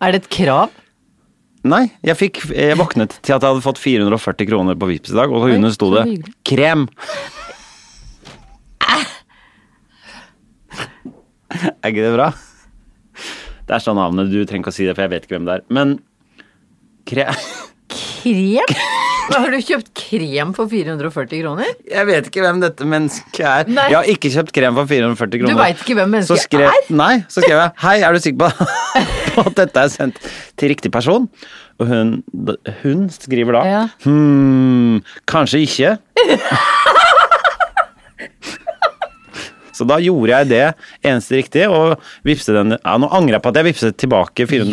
Speaker 2: Er det et krav?
Speaker 1: Nei, jeg, fikk, jeg våknet til at jeg hadde fått 440 kroner på Vipps i dag, og
Speaker 2: Oi,
Speaker 1: så under sto
Speaker 2: så
Speaker 1: det
Speaker 2: hyggelig.
Speaker 1: 'krem'. Er ikke det bra? Det er sånn navnet, du trenger ikke å si det, for jeg vet ikke hvem det er. Men kre...
Speaker 2: Krem? Har du kjøpt krem for 440 kroner?
Speaker 1: Jeg vet ikke hvem dette mennesket er.
Speaker 2: Nei.
Speaker 1: Jeg har ikke kjøpt krem for 440 kroner.
Speaker 2: Du vet ikke hvem mennesket
Speaker 1: Så skrev,
Speaker 2: er?
Speaker 1: Nei, så skrev jeg 'Hei, er du sikker på, på at dette er sendt til riktig person?' Og hun, hun skriver da
Speaker 2: Ja.
Speaker 1: Hm, kanskje ikke. Så da gjorde jeg det eneste riktige, og vipset henne ja, Nå angrer jeg på at jeg vipset tilbake 440,
Speaker 2: Gjorde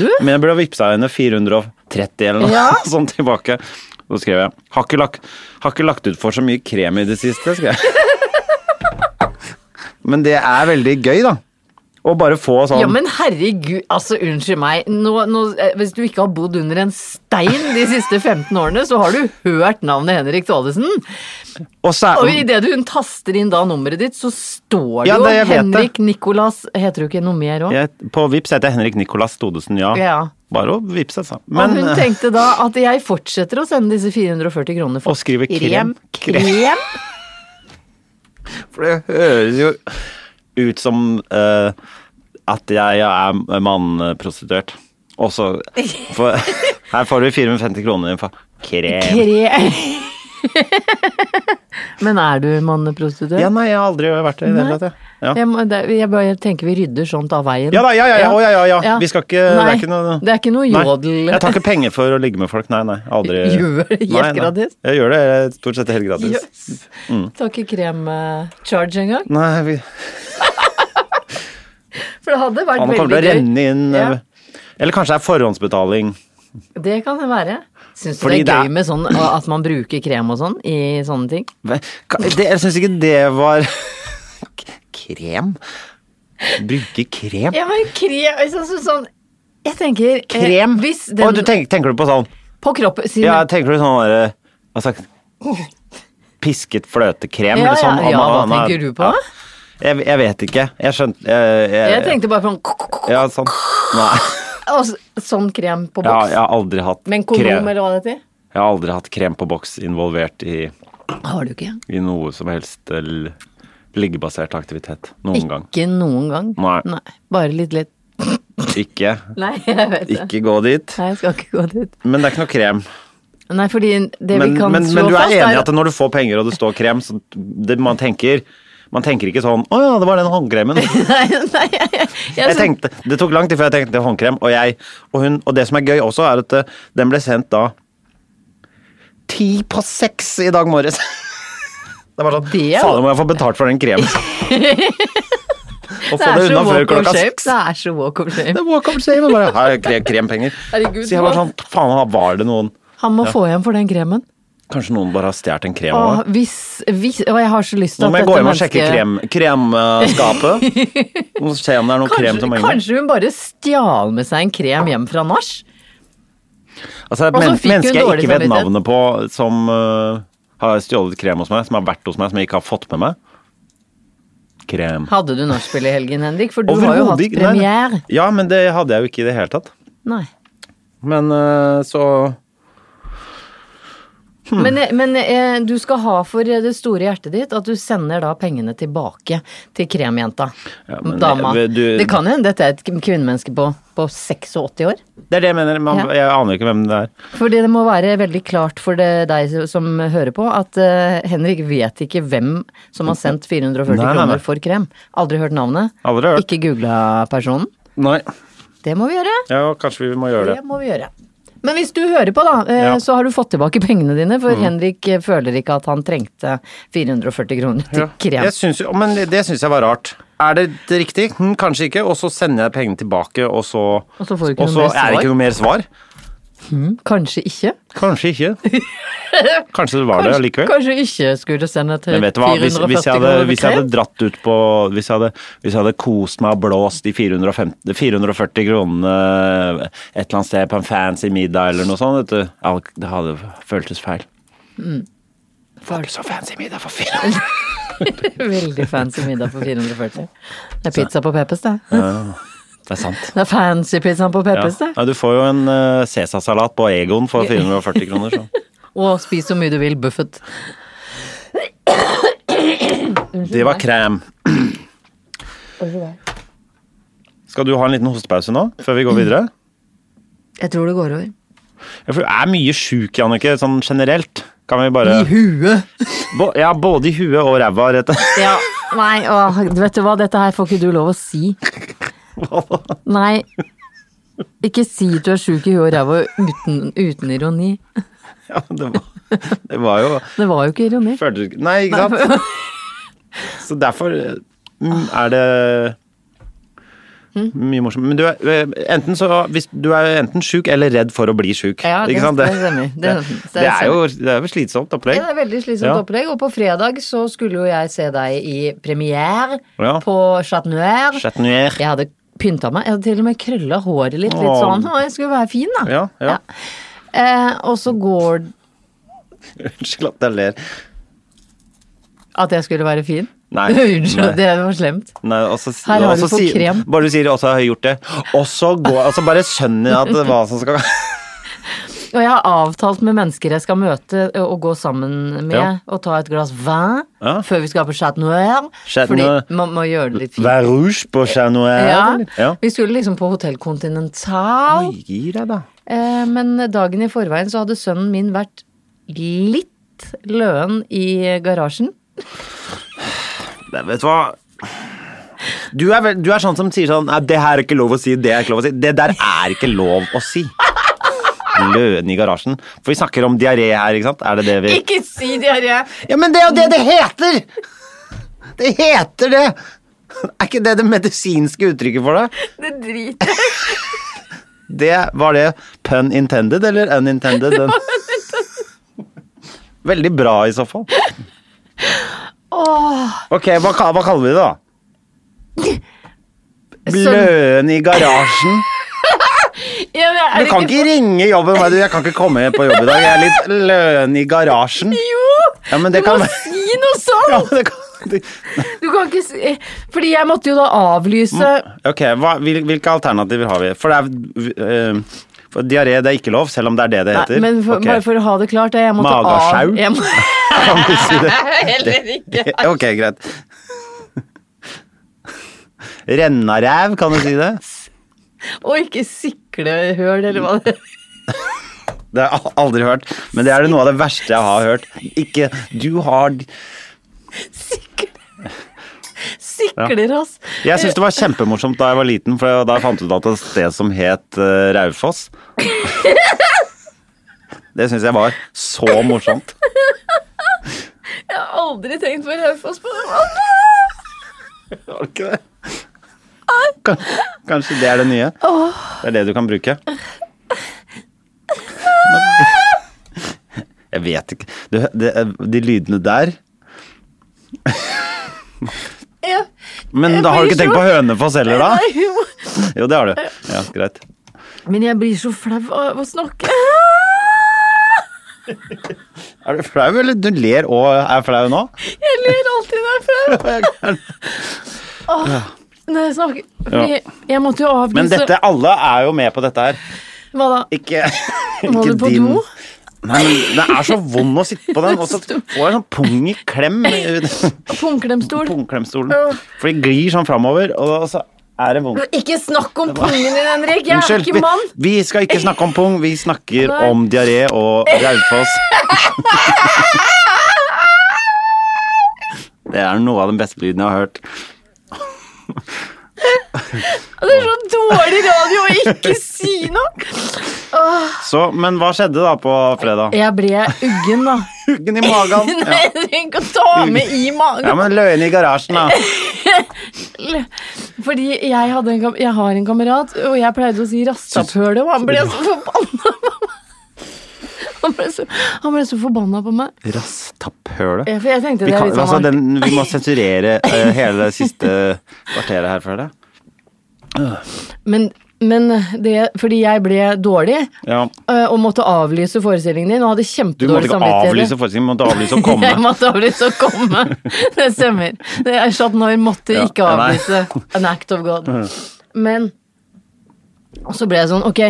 Speaker 2: du?
Speaker 1: men jeg burde ha vipsa henne 430 eller noe
Speaker 2: Ja.
Speaker 1: sånt tilbake. Så skrev jeg har ikke, lagt, 'Har ikke lagt ut for så mye krem i det siste', skrev jeg. Men det er veldig gøy, da. Å bare få sånn
Speaker 2: Ja, men herregud, altså unnskyld meg. Nå, nå, eh, hvis du ikke har bodd under en stein de siste 15 årene, så har du hørt navnet Henrik Thaalesen.
Speaker 1: og så er-
Speaker 2: Og idet hun taster inn da nummeret ditt, så står det
Speaker 1: Ja,
Speaker 2: jo
Speaker 1: det- jeg vet
Speaker 2: Henrik Nicolas Heter du ikke noe mer òg?
Speaker 1: jeg, På Vipps heter jeg Henrik Nicolas Todesen, ja.
Speaker 2: Ja.
Speaker 1: Bare å vippse, altså.
Speaker 2: og hun tenkte da at jeg fortsetter å sende disse 440 kronene for
Speaker 1: Og skrive krem.
Speaker 2: Krem?
Speaker 1: For det høres jo ut som eh, at jeg er mannprostituert. Også for, Her får du 450 kroner for krem.
Speaker 2: Krem. Men er du manneprostituert?
Speaker 1: Ja, nei, jeg har aldri vært det i det hele tatt. jeg. Ja.
Speaker 2: Jeg, må, det, jeg bare tenker vi rydder sånt av veien.
Speaker 1: Ja da, ja, ja, ja, å, ja, ja, ja. Vi skal ikke-
Speaker 2: Nei,
Speaker 1: det er ikke noe-
Speaker 2: det er ikke noe
Speaker 1: Nei,
Speaker 2: jodel.
Speaker 1: jeg tar ikke penger for å ligge med folk, nei, nei. Aldri.
Speaker 2: Gjør det helt
Speaker 1: Nei, nei.
Speaker 2: gratis?
Speaker 1: Jeg gjør det eh, stort sett helt gratis.
Speaker 2: Jøss.
Speaker 1: Mm.
Speaker 2: Tar ikke krem-charge engang.
Speaker 1: Nei, vi,
Speaker 2: For det hadde vært
Speaker 1: han kommer til å
Speaker 2: veldig gøy.
Speaker 1: renne inn
Speaker 2: Ja.
Speaker 1: eh, Eller kanskje det er forhåndsbetaling.
Speaker 2: Det kan det være. Syns du
Speaker 1: Fordi
Speaker 2: det
Speaker 1: det
Speaker 2: er
Speaker 1: er-
Speaker 2: gøy med sånn at man bruker krem og sånn i sånne ting?
Speaker 1: Hva- ka- det, Jeg syns ikke det var K- Krem? Bruke krem?
Speaker 2: Ja, men krem altså, så, sånn, Jeg tenker eh,
Speaker 1: Krem?
Speaker 2: Hvis
Speaker 1: Å,
Speaker 2: den
Speaker 1: du tenker, tenker du på sånn
Speaker 2: På kroppen si
Speaker 1: Ja, tenker du sånn derre Hva sagt Pisket fløtekrem?
Speaker 2: ja,
Speaker 1: eller sånn,
Speaker 2: ja, ja, hva
Speaker 1: ananas-
Speaker 2: tenker du på?
Speaker 1: Ja, jeg, jeg vet ikke. Jeg skjønte jeg, jeg,
Speaker 2: Jeg tenkte bare på sånn
Speaker 1: Ja, sånn. Nei.
Speaker 2: og så- Sånn krem på
Speaker 1: Ja,
Speaker 2: boks.
Speaker 1: jeg har aldri hatt
Speaker 2: Med en kondom,
Speaker 1: krem.
Speaker 2: eller hva det heter.
Speaker 1: Jeg Jeg har aldri hatt krem på boks involvert i,
Speaker 2: Har du ikke?
Speaker 1: i noe som helst l- liggebasert aktivitet. Noen gang.
Speaker 2: Ikke noen gang.
Speaker 1: Nei.
Speaker 2: Bare litt litt.
Speaker 1: Ikke,
Speaker 2: Nei, jeg vet det.
Speaker 1: ikke gå dit.
Speaker 2: Nei, jeg skal ikke gå dit.
Speaker 1: Men det er ikke noe krem.
Speaker 2: Nei, fordi det
Speaker 1: Men,
Speaker 2: vi kan
Speaker 1: men,
Speaker 2: slå
Speaker 1: men du er
Speaker 2: fast
Speaker 1: enig i at når du får penger og det står krem, så det, man tenker man tenker ikke sånn 'Å ja, det var den håndkremen'.
Speaker 2: Nei, nei, jeg, jeg,
Speaker 1: Jeg
Speaker 2: synes-
Speaker 1: tenkte, det tok lang tid før jeg tenkte håndkrem. Og, jeg, og, hun, og det som er gøy også, er at eh, den ble sendt da ti på seks i dag morges. Det var sånn
Speaker 2: Det er-
Speaker 1: Fader, må jeg få betalt for den kremen. og få
Speaker 2: det
Speaker 1: det
Speaker 2: er så
Speaker 1: unna før
Speaker 2: walk of
Speaker 1: klokka
Speaker 2: shame.
Speaker 1: seks.
Speaker 2: Det er så walk of shame.
Speaker 1: Det var kom seg, men bare, her, krem, krempenger.
Speaker 2: Herregud,
Speaker 1: så jeg var sånn, faen, var det noen
Speaker 2: Han må få igjen for den kremen.
Speaker 1: Kanskje noen bare har stjålet en krem av
Speaker 2: Åh,
Speaker 1: meg?
Speaker 2: hvis, hvis, og jeg har så lyst til
Speaker 1: Nå
Speaker 2: at
Speaker 1: må jeg
Speaker 2: dette
Speaker 1: gå hjem og sjekke
Speaker 2: mennesket-
Speaker 1: krem, kremskapet. Og se om det er noe krem som
Speaker 2: Kanskje,
Speaker 1: er inne.
Speaker 2: kanskje hun bare stjal med seg en krem hjem fra nach?
Speaker 1: Altså, et
Speaker 2: Og så
Speaker 1: men,
Speaker 2: fikk hun
Speaker 1: menneske jeg
Speaker 2: dårlig
Speaker 1: ikke vet
Speaker 2: samvittighet.
Speaker 1: navnet på, som øh, har stjålet krem hos meg, som har vært hos meg, som jeg ikke har fått med meg. Krem.
Speaker 2: Hadde du nachspiel i helgen, Henrik? For du har jo hatt
Speaker 1: Overhodet ikke. Nei, nei.
Speaker 2: premiere.
Speaker 1: Ja, men det hadde jeg jo ikke i det hele tatt.
Speaker 2: Nei.
Speaker 1: Men øh, så Mm.
Speaker 2: Men, eh, men eh, du skal ha for det store hjertet ditt at du sender da pengene tilbake til kremjenta.
Speaker 1: Ja, men
Speaker 2: dama.
Speaker 1: det- du-
Speaker 2: det kan hende dette er et kvinnemenneske på, på 86 år.
Speaker 1: Det er det jeg mener. Man,
Speaker 2: Ja.
Speaker 1: Jeg aner jo ikke hvem det er.
Speaker 2: Fordi det må være veldig klart for det, deg som hører på, at eh, Henrik vet ikke hvem som har sendt
Speaker 1: Nei,
Speaker 2: 440
Speaker 1: nei, nei.
Speaker 2: kroner for krem. Aldri hørt navnet.
Speaker 1: Aldri hørt.
Speaker 2: Ikke googla personen.
Speaker 1: Nei.
Speaker 2: Det må vi gjøre.
Speaker 1: Ja, kanskje vi må gjøre
Speaker 2: Det
Speaker 1: det.
Speaker 2: må vi gjøre. Men hvis du hører på, da, eh,
Speaker 1: Ja. Mm.
Speaker 2: så har du fått tilbake pengene dine, for Henrik eh, føler ikke at han trengte 440 kroner til
Speaker 1: Ja.
Speaker 2: krem.
Speaker 1: Jeg syns jo, men det syns jeg var rart. Er det det riktig? Hm, kanskje ikke. Og så sender jeg pengene tilbake, og så,
Speaker 2: Og så får du ikke
Speaker 1: og
Speaker 2: noe
Speaker 1: så
Speaker 2: mer
Speaker 1: er det
Speaker 2: svar.
Speaker 1: ikke noe mer svar.
Speaker 2: Kanskje ikke.
Speaker 1: Kanskje ikke. Kanskje det var det
Speaker 2: Kanskje,
Speaker 1: allikevel.
Speaker 2: kanskje ikke skulle sende til
Speaker 1: Men vet du hva, hvis,
Speaker 2: 440
Speaker 1: hvis, jeg hadde,
Speaker 2: kroner
Speaker 1: hvis jeg hadde
Speaker 2: krem.
Speaker 1: dratt ut på Hvis jeg hadde, hvis jeg hadde kost meg og blåst de 450, 440 kronene et eller annet sted på en fancy middag eller noe sånt, vet du al- Det hadde føltes feil. Mm. Får du så fancy middag for 400
Speaker 2: Veldig fancy middag for 440. Det er pizza på Peppes, det.
Speaker 1: Det er sant.
Speaker 2: Det er fancy pizzaen på
Speaker 1: Ja.
Speaker 2: Peppes, det.
Speaker 1: Ja, du får jo en eh, Cæsarsalat på Egon for 440 kroner, så.
Speaker 2: Og spis så mye du vil, Buffett.
Speaker 1: Det var krem. Skal du ha en liten hostepause nå, før vi går videre?
Speaker 2: Jeg tror det går over.
Speaker 1: Ja, for du er mye sjuk, Jannicke, sånn generelt. Kan vi bare
Speaker 2: huet!
Speaker 1: Bo, ja, både i huet og ræva, rett og
Speaker 2: Ja, nei, åh, vet du hva, dette her får ikke du lov å si. Nei. Ikke si at du er sjuk i huet og ræva uten, uten ironi.
Speaker 1: ja, det, var, det var jo
Speaker 2: Det var jo ikke ironi.
Speaker 1: Følte du ikke Nei, ikke sant? Så derfor mm, er det
Speaker 2: Mm.
Speaker 1: mye morsomt. Men du er eh, enten så hvis Du er enten sjuk eller redd for å bli sjuk.
Speaker 2: Ja, det-
Speaker 1: ikke sant?
Speaker 2: det stemmer. Det-
Speaker 1: Det,
Speaker 2: det
Speaker 1: det er jo det er jo slitsomt opplegg.
Speaker 2: Ja, det er veldig slitsomt
Speaker 1: Ja.
Speaker 2: opplegg. Og på fredag så skulle jo jeg se deg i premiere
Speaker 1: Ja.
Speaker 2: på Chat Noir.
Speaker 1: Chatnuer.
Speaker 2: Jeg hadde pynta meg. Jeg hadde til og med krølla håret litt, litt
Speaker 1: Åh.
Speaker 2: sånn. Å, jeg skulle være fin, da.
Speaker 1: Ja, ja.
Speaker 2: Eh, og så går
Speaker 1: Unnskyld at jeg ler.
Speaker 2: At jeg skulle være fin?
Speaker 1: Nei.
Speaker 2: Unnskyld,
Speaker 1: Nei.
Speaker 2: det var slemt.
Speaker 1: Nei, og så-
Speaker 2: Her har
Speaker 1: og
Speaker 2: du
Speaker 1: så
Speaker 2: fått
Speaker 1: sier-
Speaker 2: krem.
Speaker 1: Bare du sier 'og så har jeg gjort det', og så går altså Bare skjønner jeg at det- hva som skal
Speaker 2: Og jeg har avtalt med mennesker jeg skal møte ø, og gå sammen med,
Speaker 1: Ja.
Speaker 2: og ta et glass vin
Speaker 1: Ja.
Speaker 2: før vi skal på Chat Noir.
Speaker 1: Chat
Speaker 2: fordi
Speaker 1: Noir.
Speaker 2: man må gjøre det litt fint.
Speaker 1: Vær rouge på eh. Chat Noir.
Speaker 2: Ja.
Speaker 1: ja.
Speaker 2: Vi skulle liksom på Hotell Continental,
Speaker 1: Oi, gi deg, da.
Speaker 2: eh, men dagen i forveien så hadde sønnen min vært litt løen i garasjen.
Speaker 1: Nei, vet du hva? Du er, vel- du er sånn som sier sånn Nei, det her er ikke lov å si, det er ikke lov å si. Det der er ikke lov å si. Løen i garasjen. For vi snakker om diaré her, ikke sant? Er det det vi
Speaker 2: Ikke si diaré!
Speaker 1: Ja, men det er jo det det heter! Det heter det! Er ikke det det medisinske uttrykket for det?
Speaker 2: Det driter jeg
Speaker 1: Det Var det pun intended eller unintended? Den? Veldig bra, i så fall. Ok, hva, ka- hva kaller vi det, da? Bløen i garasjen.
Speaker 2: Ja, men er
Speaker 1: Du
Speaker 2: det
Speaker 1: kan ikke ringe jobben. vet du. Jeg kan ikke komme på jobb i dag. Jeg er litt løen i garasjen.
Speaker 2: Jo!
Speaker 1: Ja, men det
Speaker 2: du
Speaker 1: kan
Speaker 2: må
Speaker 1: være-
Speaker 2: si noe sånt!
Speaker 1: Ja, men det kan, det-
Speaker 2: Du kan ikke si Fordi jeg måtte jo da avlyse
Speaker 1: ok, hva, hvil- Hvilke alternativer har vi? For det er eh, For diaré, det er ikke lov, selv om det er det det heter.
Speaker 2: Nei, men for,
Speaker 1: Ok.
Speaker 2: bare for å ha det klart, jeg måtte
Speaker 1: Magasjau?
Speaker 2: av jeg må,
Speaker 1: Kan du si det?
Speaker 2: Heller ikke.
Speaker 1: Ok, greit. Rennaræv, kan du si det?
Speaker 2: Og ikke siklehull, eller hva det
Speaker 1: Det har jeg aldri hørt, men det er det noe av det verste jeg har hørt. Ikke Du har
Speaker 2: Sikler. Sikler, ass.
Speaker 1: Jeg syns det var kjempemorsomt da jeg var liten, for da jeg fant ut at det var et sted som het eh, Raufoss. Det syns jeg var så morsomt.
Speaker 2: Jeg har aldri tenkt på Raufoss på den måten.
Speaker 1: Var det ikke det? Kan- Kanskje det er det nye? Det er det du kan bruke. Jeg vet ikke du, det, De lydene der
Speaker 2: Jeg-
Speaker 1: Men da har du ikke tenkt på Hønefoss heller, da?
Speaker 2: Nei, hun må-
Speaker 1: Jo, det har du. Ja, greit.
Speaker 2: Men jeg blir så flau av å snakke.
Speaker 1: Er du flau, eller du ler og er flau nå?
Speaker 2: Jeg ler alltid når jeg er flau. Når jeg snakker. Fordi
Speaker 1: Ja.
Speaker 2: jeg måtte jo avlyse
Speaker 1: Men dette, alle er jo med på dette her.
Speaker 2: Hva da?
Speaker 1: Ikke,
Speaker 2: Må
Speaker 1: ikke
Speaker 2: du på do?
Speaker 1: Nei, men det er så vond å sitte på den, og så får jeg sånn pung i klem. i-
Speaker 2: Pungklemstol?
Speaker 1: Pungklemstolen. For de glir sånn framover, og så er det vondt.
Speaker 2: Ikke snakk om pungen din, Henrik! Jeg er
Speaker 1: Unnskyld,
Speaker 2: ikke mann!
Speaker 1: vi, vi skal ikke snakke om pung, vi snakker
Speaker 2: Nei.
Speaker 1: om diaré og Raufoss. Det er noe av den beste lyden jeg har hørt.
Speaker 2: Det er så dårlig radio å ikke si noe!
Speaker 1: Så, men hva skjedde da på fredag?
Speaker 2: Jeg ble uggen, da.
Speaker 1: Huggen i magen.
Speaker 2: Nei,
Speaker 1: Ja.
Speaker 2: du trenger ikke å ta med i
Speaker 1: ja,
Speaker 2: magen.
Speaker 1: men løyen i garasjen, da.
Speaker 2: Fordi jeg, hadde en, kam- jeg har en kamerat, og jeg pleide å si rastapøle, og han ble så forbanna på meg. Han ble så, han ble så forbanna på meg.
Speaker 1: Rasstapphølet.
Speaker 2: Ja, For jeg tenkte
Speaker 1: Vi,
Speaker 2: det er
Speaker 1: kan,
Speaker 2: litt sånn
Speaker 1: altså, den, vi må sensurere eh, hele det siste kvarteret her, føler jeg.
Speaker 2: Men, men det, fordi jeg ble dårlig
Speaker 1: Ja.
Speaker 2: øh, og måtte avlyse forestillingen din og hadde
Speaker 1: Du måtte
Speaker 2: kjempedårlig
Speaker 1: ikke
Speaker 2: samvittighet.
Speaker 1: avlyse forestillingen, du måtte avlyse å komme.
Speaker 2: Jeg måtte avlyse å komme. Det stemmer. Det er sånn når måtte
Speaker 1: Ja,
Speaker 2: ikke
Speaker 1: nei.
Speaker 2: avlyse. An act of God. Men og så ble jeg sånn, ok,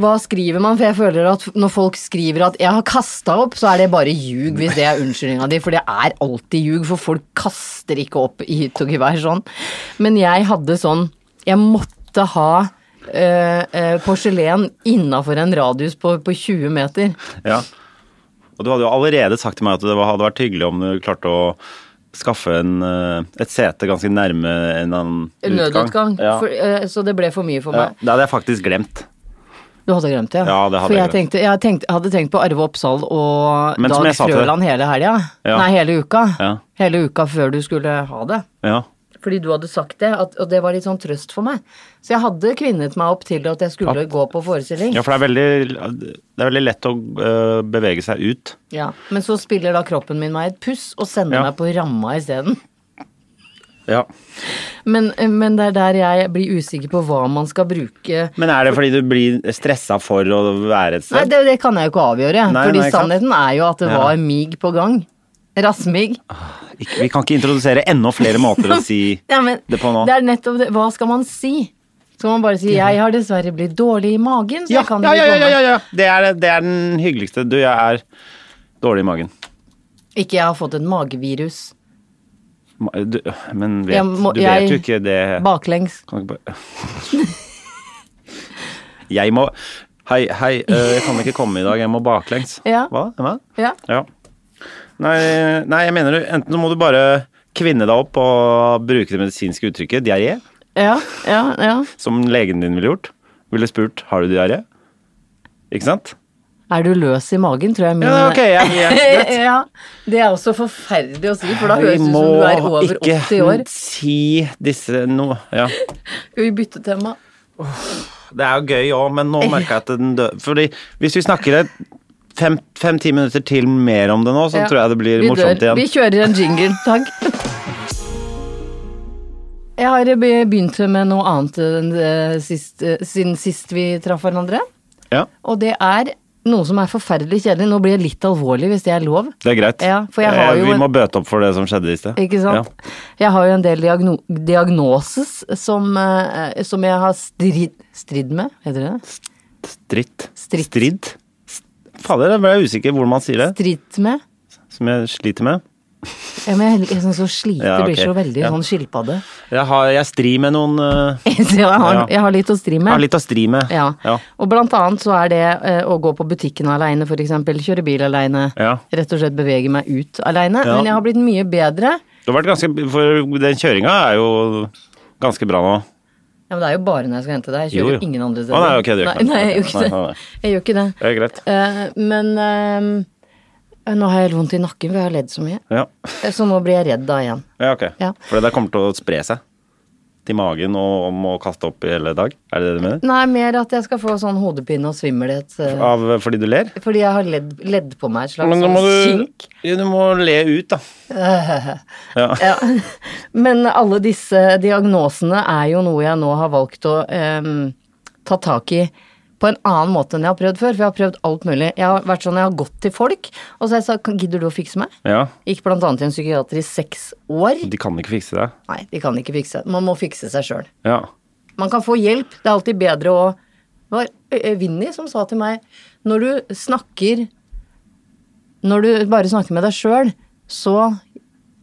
Speaker 2: hva skriver man? For jeg føler at når folk skriver at jeg har kasta opp, så er det bare ljug hvis det er unnskyldninga di, for det er alltid ljug, for folk kaster ikke opp i hytt og gevær sånn. Men jeg hadde sånn, jeg måtte ha eh, eh, porselen innafor en radius på, på 20 meter.
Speaker 1: Ja. Og du hadde jo allerede sagt til meg at det var- hadde vært hyggelig om du klarte å skaffe en, eh, et sete ganske nærme en annen
Speaker 2: Nødutgang.
Speaker 1: Ja.
Speaker 2: For, eh, så det ble for mye for
Speaker 1: ja.
Speaker 2: meg.
Speaker 1: Det hadde jeg faktisk glemt.
Speaker 2: Du hadde glemt det?
Speaker 1: Ja, det hadde
Speaker 2: for
Speaker 1: jeg
Speaker 2: jeg,
Speaker 1: glemt.
Speaker 2: tenkte, jeg tenkte, hadde tenkt på Arve Oppsal og
Speaker 1: Men som
Speaker 2: Dag
Speaker 1: jeg sa til deg-
Speaker 2: Frøland hele helga.
Speaker 1: Ja.
Speaker 2: Nei, hele uka.
Speaker 1: Ja.
Speaker 2: Hele uka før du skulle ha det.
Speaker 1: Ja.
Speaker 2: Fordi du hadde sagt det, at, og det var litt sånn trøst for meg. Så jeg hadde kvinnet meg opp til at jeg skulle gå på forestilling.
Speaker 1: ja, for det er veldig, det er veldig lett å eh, bevege seg ut.
Speaker 2: Ja. Men så spiller da kroppen min meg et puss og sender
Speaker 1: Ja.
Speaker 2: meg på ramma isteden.
Speaker 1: Ja.
Speaker 2: Men, men det er der jeg blir usikker på hva man skal bruke
Speaker 1: Men er det fordi du blir stressa for å være et
Speaker 2: Nei,
Speaker 1: sted?
Speaker 2: det, det kan jeg jo ikke avgjøre.
Speaker 1: Nei,
Speaker 2: fordi
Speaker 1: nei, ikke sant.
Speaker 2: sannheten er jo at det
Speaker 1: Ja.
Speaker 2: var mig på gang. Rassmig.
Speaker 1: Ikke- Vi kan ikke introdusere enda flere måter å si
Speaker 2: Ja, men
Speaker 1: det på nå.
Speaker 2: det er nettopp det. Hva skal man si? Skal man bare si 'jeg har dessverre blitt dårlig i magen', så
Speaker 1: Ja,
Speaker 2: jeg kan
Speaker 1: ja,
Speaker 2: ikke
Speaker 1: ja, ja,
Speaker 2: komme?
Speaker 1: ja, ja. Det, er, det er den hyggeligste. Du, jeg er dårlig i magen.
Speaker 2: Ikke 'jeg har fått et magevirus'.
Speaker 1: Ma- Du, men vet,
Speaker 2: Jeg må-
Speaker 1: du vet jo
Speaker 2: jeg-
Speaker 1: ikke det
Speaker 2: Baklengs.
Speaker 1: Kan ikke bare Jeg må Hei, hei, øh, jeg kan ikke komme i dag, jeg må baklengs.
Speaker 2: Ja.
Speaker 1: Hva? Hva?
Speaker 2: Ja.
Speaker 1: Ja. Nei, nei, jeg mener du Enten så må du bare kvinne deg opp og bruke det medisinske uttrykket diaré,
Speaker 2: Ja, ja, ja.
Speaker 1: som legen din ville gjort. Ville spurt har du diaré. Ikke sant?
Speaker 2: Er du løs i magen, tror jeg min
Speaker 1: Ja, ok, jeg, jeg,
Speaker 2: ja, det er også forferdelig å si, for da
Speaker 1: vi
Speaker 2: høres det ut
Speaker 1: må
Speaker 2: som du er over 80 år.
Speaker 1: ikke si disse nå. Ja.
Speaker 2: Skal vi bytte tema?
Speaker 1: Det er jo gøy òg, men nå merker jeg at den dør Fordi hvis vi snakker et fem- fem-ti minutter til mer om det nå, så
Speaker 2: Ja.
Speaker 1: tror jeg det blir
Speaker 2: vi
Speaker 1: morsomt
Speaker 2: dør.
Speaker 1: igjen.
Speaker 2: Vi kjører en jingle, takk. Jeg har be- begynt med noe annet enn eh, sist, eh, siden sist vi traff hverandre.
Speaker 1: Ja,
Speaker 2: Og det er noe som er forferdelig kjedelig. Nå blir jeg litt alvorlig, hvis det er lov.
Speaker 1: det er greit.
Speaker 2: Ja, for jeg
Speaker 1: Eh,
Speaker 2: har jo
Speaker 1: vi
Speaker 2: en-
Speaker 1: må bøte opp for det som skjedde i sted.
Speaker 2: Ikke sant? Jeg har jo en del diagno diagnoses som, eh, som jeg har strid, strid med, heter det det?
Speaker 1: Stritt.
Speaker 2: Stritt.
Speaker 1: Stridd. Fader, jeg ble usikker hvordan man sier det.
Speaker 2: Strit med.
Speaker 1: Som jeg sliter med.
Speaker 2: Ja, men jeg er litt sånn så slite
Speaker 1: Ja, ok.
Speaker 2: blir så veldig
Speaker 1: Ja.
Speaker 2: sånn skilpadde.
Speaker 1: Jeg, har, jeg strir med noen eh,
Speaker 2: Så jeg
Speaker 1: Ja.
Speaker 2: har, jeg har litt å stri
Speaker 1: Jeg har
Speaker 2: med.
Speaker 1: litt å stri med.
Speaker 2: Ja.
Speaker 1: Ja.
Speaker 2: Og blant annet så er det eh, å gå på butikken aleine, for eksempel. Kjøre bil aleine.
Speaker 1: Ja.
Speaker 2: Rett og slett bevege meg ut aleine.
Speaker 1: Ja.
Speaker 2: Men jeg har blitt mye bedre.
Speaker 1: Det har vært ganske, for den kjøringa er jo ganske bra nå.
Speaker 2: Ja, men det er jo bare når jeg skal hente deg. Jeg kjører
Speaker 1: Jo,
Speaker 2: jo
Speaker 1: jo.
Speaker 2: ingen andre
Speaker 1: Å,
Speaker 2: steder.
Speaker 1: nei, ok, det gjør
Speaker 2: nei,
Speaker 1: ikke noe.
Speaker 2: nei, jeg
Speaker 1: Ok,
Speaker 2: gjør ikke det.
Speaker 1: nei, nei, nei.
Speaker 2: Jeg gjør ikke det.
Speaker 1: Det er greit.
Speaker 2: Eh, men eh, nå har jeg helt vondt i nakken, for jeg har ledd så mye.
Speaker 1: Ja,
Speaker 2: Eh, Så nå blir jeg redd da igjen.
Speaker 1: ja ok.
Speaker 2: Ja.
Speaker 1: For det der kommer til å spre seg til magen og må kaste opp i hele dag. Er det det du mener?
Speaker 2: Nei, mer at jeg skal få sånn hodepine og svimmelhet. eh,
Speaker 1: Av, fordi du ler?
Speaker 2: Fordi jeg har ledd, ledd på meg et slags
Speaker 1: Ah. Men da må
Speaker 2: sånn
Speaker 1: du,
Speaker 2: kink.
Speaker 1: ja, du må le ut, da.
Speaker 2: Ja. Men alle disse diagnosene er jo noe jeg nå har valgt å em, ta tak i på en annen måte enn jeg har prøvd før, for jeg har prøvd alt mulig. Jeg har vært sånn, jeg har gått til folk, og så har jeg sagt, "Kan- gidder du å fikse meg?
Speaker 1: Ja.
Speaker 2: Gikk blant annet til en psykiater i seks år.
Speaker 1: De kan ikke fikse det.
Speaker 2: Nei, de kan ikke fikse Man må fikse seg sjøl.
Speaker 1: Ja.
Speaker 2: Man kan få hjelp. Det er alltid bedre å Det var Ø- Ø- Vinni som sa til meg Når du snakker Når du bare snakker med deg sjøl, så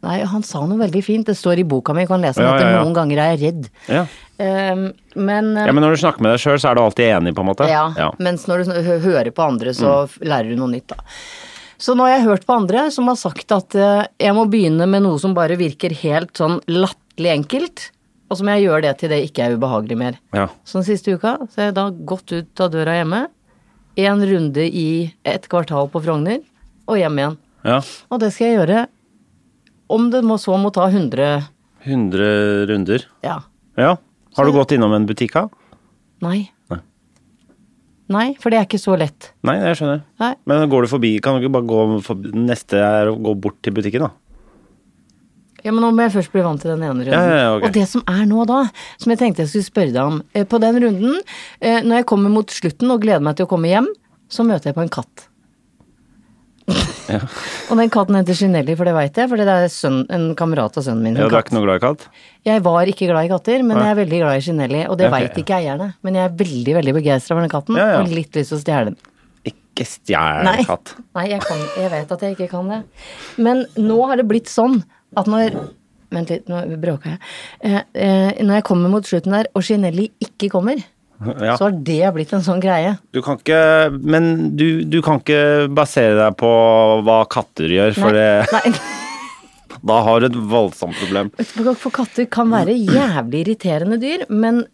Speaker 2: Nei, han sa noe veldig fint. Det står i boka mi, kan lese den
Speaker 1: Ja,
Speaker 2: etter.
Speaker 1: ja, ja.
Speaker 2: Noen ganger er jeg redd.
Speaker 1: Ja.
Speaker 2: Ehm, men,
Speaker 1: ja, Men når du snakker med deg sjøl, så er du alltid enig, på en måte?
Speaker 2: ja, mens når du sn- hø- hører på andre, så f- lærer du noe nytt, da. Så nå har jeg hørt på andre som har sagt at eh, jeg må begynne med noe som bare virker helt sånn latterlig enkelt, og så må jeg gjøre det til det ikke er ubehagelig mer.
Speaker 1: Ja.
Speaker 2: Så den siste uka så har jeg da gått ut av døra hjemme, en runde i et kvartal på Frogner, og hjem igjen.
Speaker 1: ja.
Speaker 2: Og det skal jeg gjøre om det må så må ta 100
Speaker 1: 100 runder.
Speaker 2: Ja.
Speaker 1: Ja. Har du gått innom en butikk, da?
Speaker 2: Nei.
Speaker 1: Nei.
Speaker 2: Nei, for det er ikke så lett.
Speaker 1: Nei, jeg skjønner.
Speaker 2: Nei.
Speaker 1: Men går du forbi, kan du ikke bare gå forbi, neste er å gå bort til butikken, da?
Speaker 2: Ja, men nå må jeg først bli vant til den ene runden.
Speaker 1: Ja, ja, ja, ok.
Speaker 2: Og det som er nå da, som jeg tenkte jeg skulle spørre deg om eh, På den runden, eh, når jeg kommer mot slutten og gleder meg til å komme hjem, så møter jeg på en katt. og den katten heter Ginelli, for det veit jeg, fordi det er sønn, en kamerat av sønnen min.
Speaker 1: Ja,
Speaker 2: en
Speaker 1: du er
Speaker 2: katt.
Speaker 1: ikke noe glad i katt?
Speaker 2: Jeg var ikke glad i katter, men jeg er veldig glad i Ginelli, og det
Speaker 1: Ok,
Speaker 2: vet veit ikke eierne. Men jeg er veldig veldig begeistra for den katten,
Speaker 1: Ja, ja.
Speaker 2: og litt lyst til å stjele den.
Speaker 1: Ikke stjel
Speaker 2: Nei.
Speaker 1: katt.
Speaker 2: Nei, jeg, kan, jeg vet at jeg ikke kan det. Men nå har det blitt sånn at når Vent litt, nå bråka jeg. Eh, eh, når jeg kommer mot slutten der, og Ginelli ikke kommer,
Speaker 1: Ja.
Speaker 2: så har det blitt en sånn greie.
Speaker 1: Du kan ikke Men du, du kan ikke basere deg på hva katter gjør, for det,
Speaker 2: Nei,
Speaker 1: da har du et voldsomt problem.
Speaker 2: for katter kan være jævlig irriterende dyr, men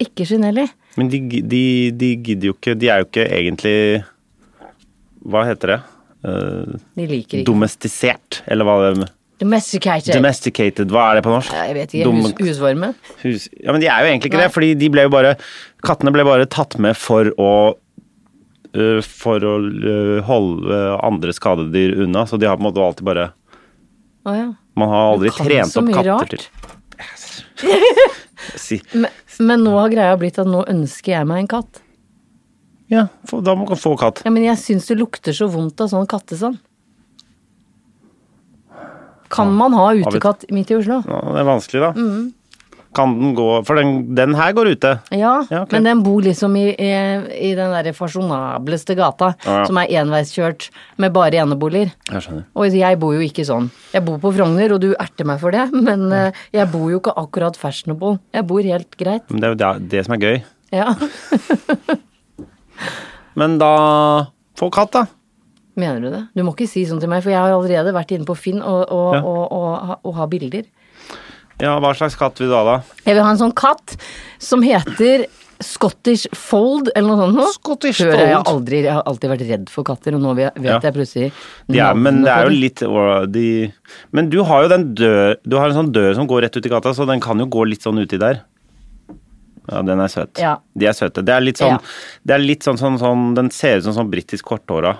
Speaker 2: ikke Ginelli.
Speaker 1: Men de, de, de gidder jo ikke De er jo ikke egentlig Hva heter det? Eh,
Speaker 2: De liker ikke
Speaker 1: domestisert, eller hva det
Speaker 2: Domesticated.
Speaker 1: Domesticated, hva er det på norsk?
Speaker 2: jeg vet ikke.
Speaker 1: Dom-
Speaker 2: Hus, husvarme.
Speaker 1: hus, ja, men de er jo egentlig ikke
Speaker 2: Nei.
Speaker 1: det, fordi de ble jo bare Kattene ble bare tatt med for å øh, For å øh, holde øh, andre skadedyr unna, så de har på en måte alltid bare
Speaker 2: Å ja.
Speaker 1: Man har aldri
Speaker 2: kan
Speaker 1: trent
Speaker 2: så
Speaker 1: opp
Speaker 2: mye
Speaker 1: katter
Speaker 2: rart.
Speaker 1: til si,
Speaker 2: Men, men nå har greia blitt at nå ønsker jeg meg en katt.
Speaker 1: Ja, få- da må man få katt.
Speaker 2: Ja, men jeg syns det lukter så vondt av sånn kattesand. Kan man ha
Speaker 1: vi-
Speaker 2: utekatt midt i Oslo?
Speaker 1: Ja, det er vanskelig, da.
Speaker 2: Mm.
Speaker 1: Kan den gå For den, den her går ute.
Speaker 2: Ja,
Speaker 1: Ja, ok.
Speaker 2: men den bor liksom i, i, i den derre fasjonableste gata,
Speaker 1: Ja, ja.
Speaker 2: som er enveiskjørt med bare eneboliger.
Speaker 1: Jeg skjønner.
Speaker 2: Og jeg bor jo ikke sånn. Jeg bor på Frogner, og du erter meg for det, men eh, jeg bor jo ikke akkurat fashionable. Jeg bor helt greit.
Speaker 1: Men det er jo det, det som er gøy.
Speaker 2: Ja.
Speaker 1: Men da Få katt, da.
Speaker 2: Mener du det? Du må ikke si sånn til meg, for jeg har allerede vært inne på Finn og, og,
Speaker 1: Ja.
Speaker 2: og, og, ha- og ha bilder.
Speaker 1: Ja, hva slags katt vil du ha, da?
Speaker 2: Jeg vil ha en sånn katt som heter Scottish Fold, eller noe sånt. nå.
Speaker 1: Scottish
Speaker 2: Før har Jeg,
Speaker 1: Fold.
Speaker 2: aldri, jeg har alltid vært redd for katter, og nå vet
Speaker 1: Ja.
Speaker 2: jeg plutselig
Speaker 1: De er, men det
Speaker 2: navnet på
Speaker 1: er jo
Speaker 2: dem.
Speaker 1: litt å, de, Men du har jo den dør Du har en sånn dør som går rett ut i gata, så den kan jo gå litt sånn uti der. Ja, den er søt.
Speaker 2: Ja.
Speaker 1: De er søte. Det er litt sånn,
Speaker 2: Ja.
Speaker 1: det er litt sånn, sånn, sånn Den ser ut som sånn britisk korthåra.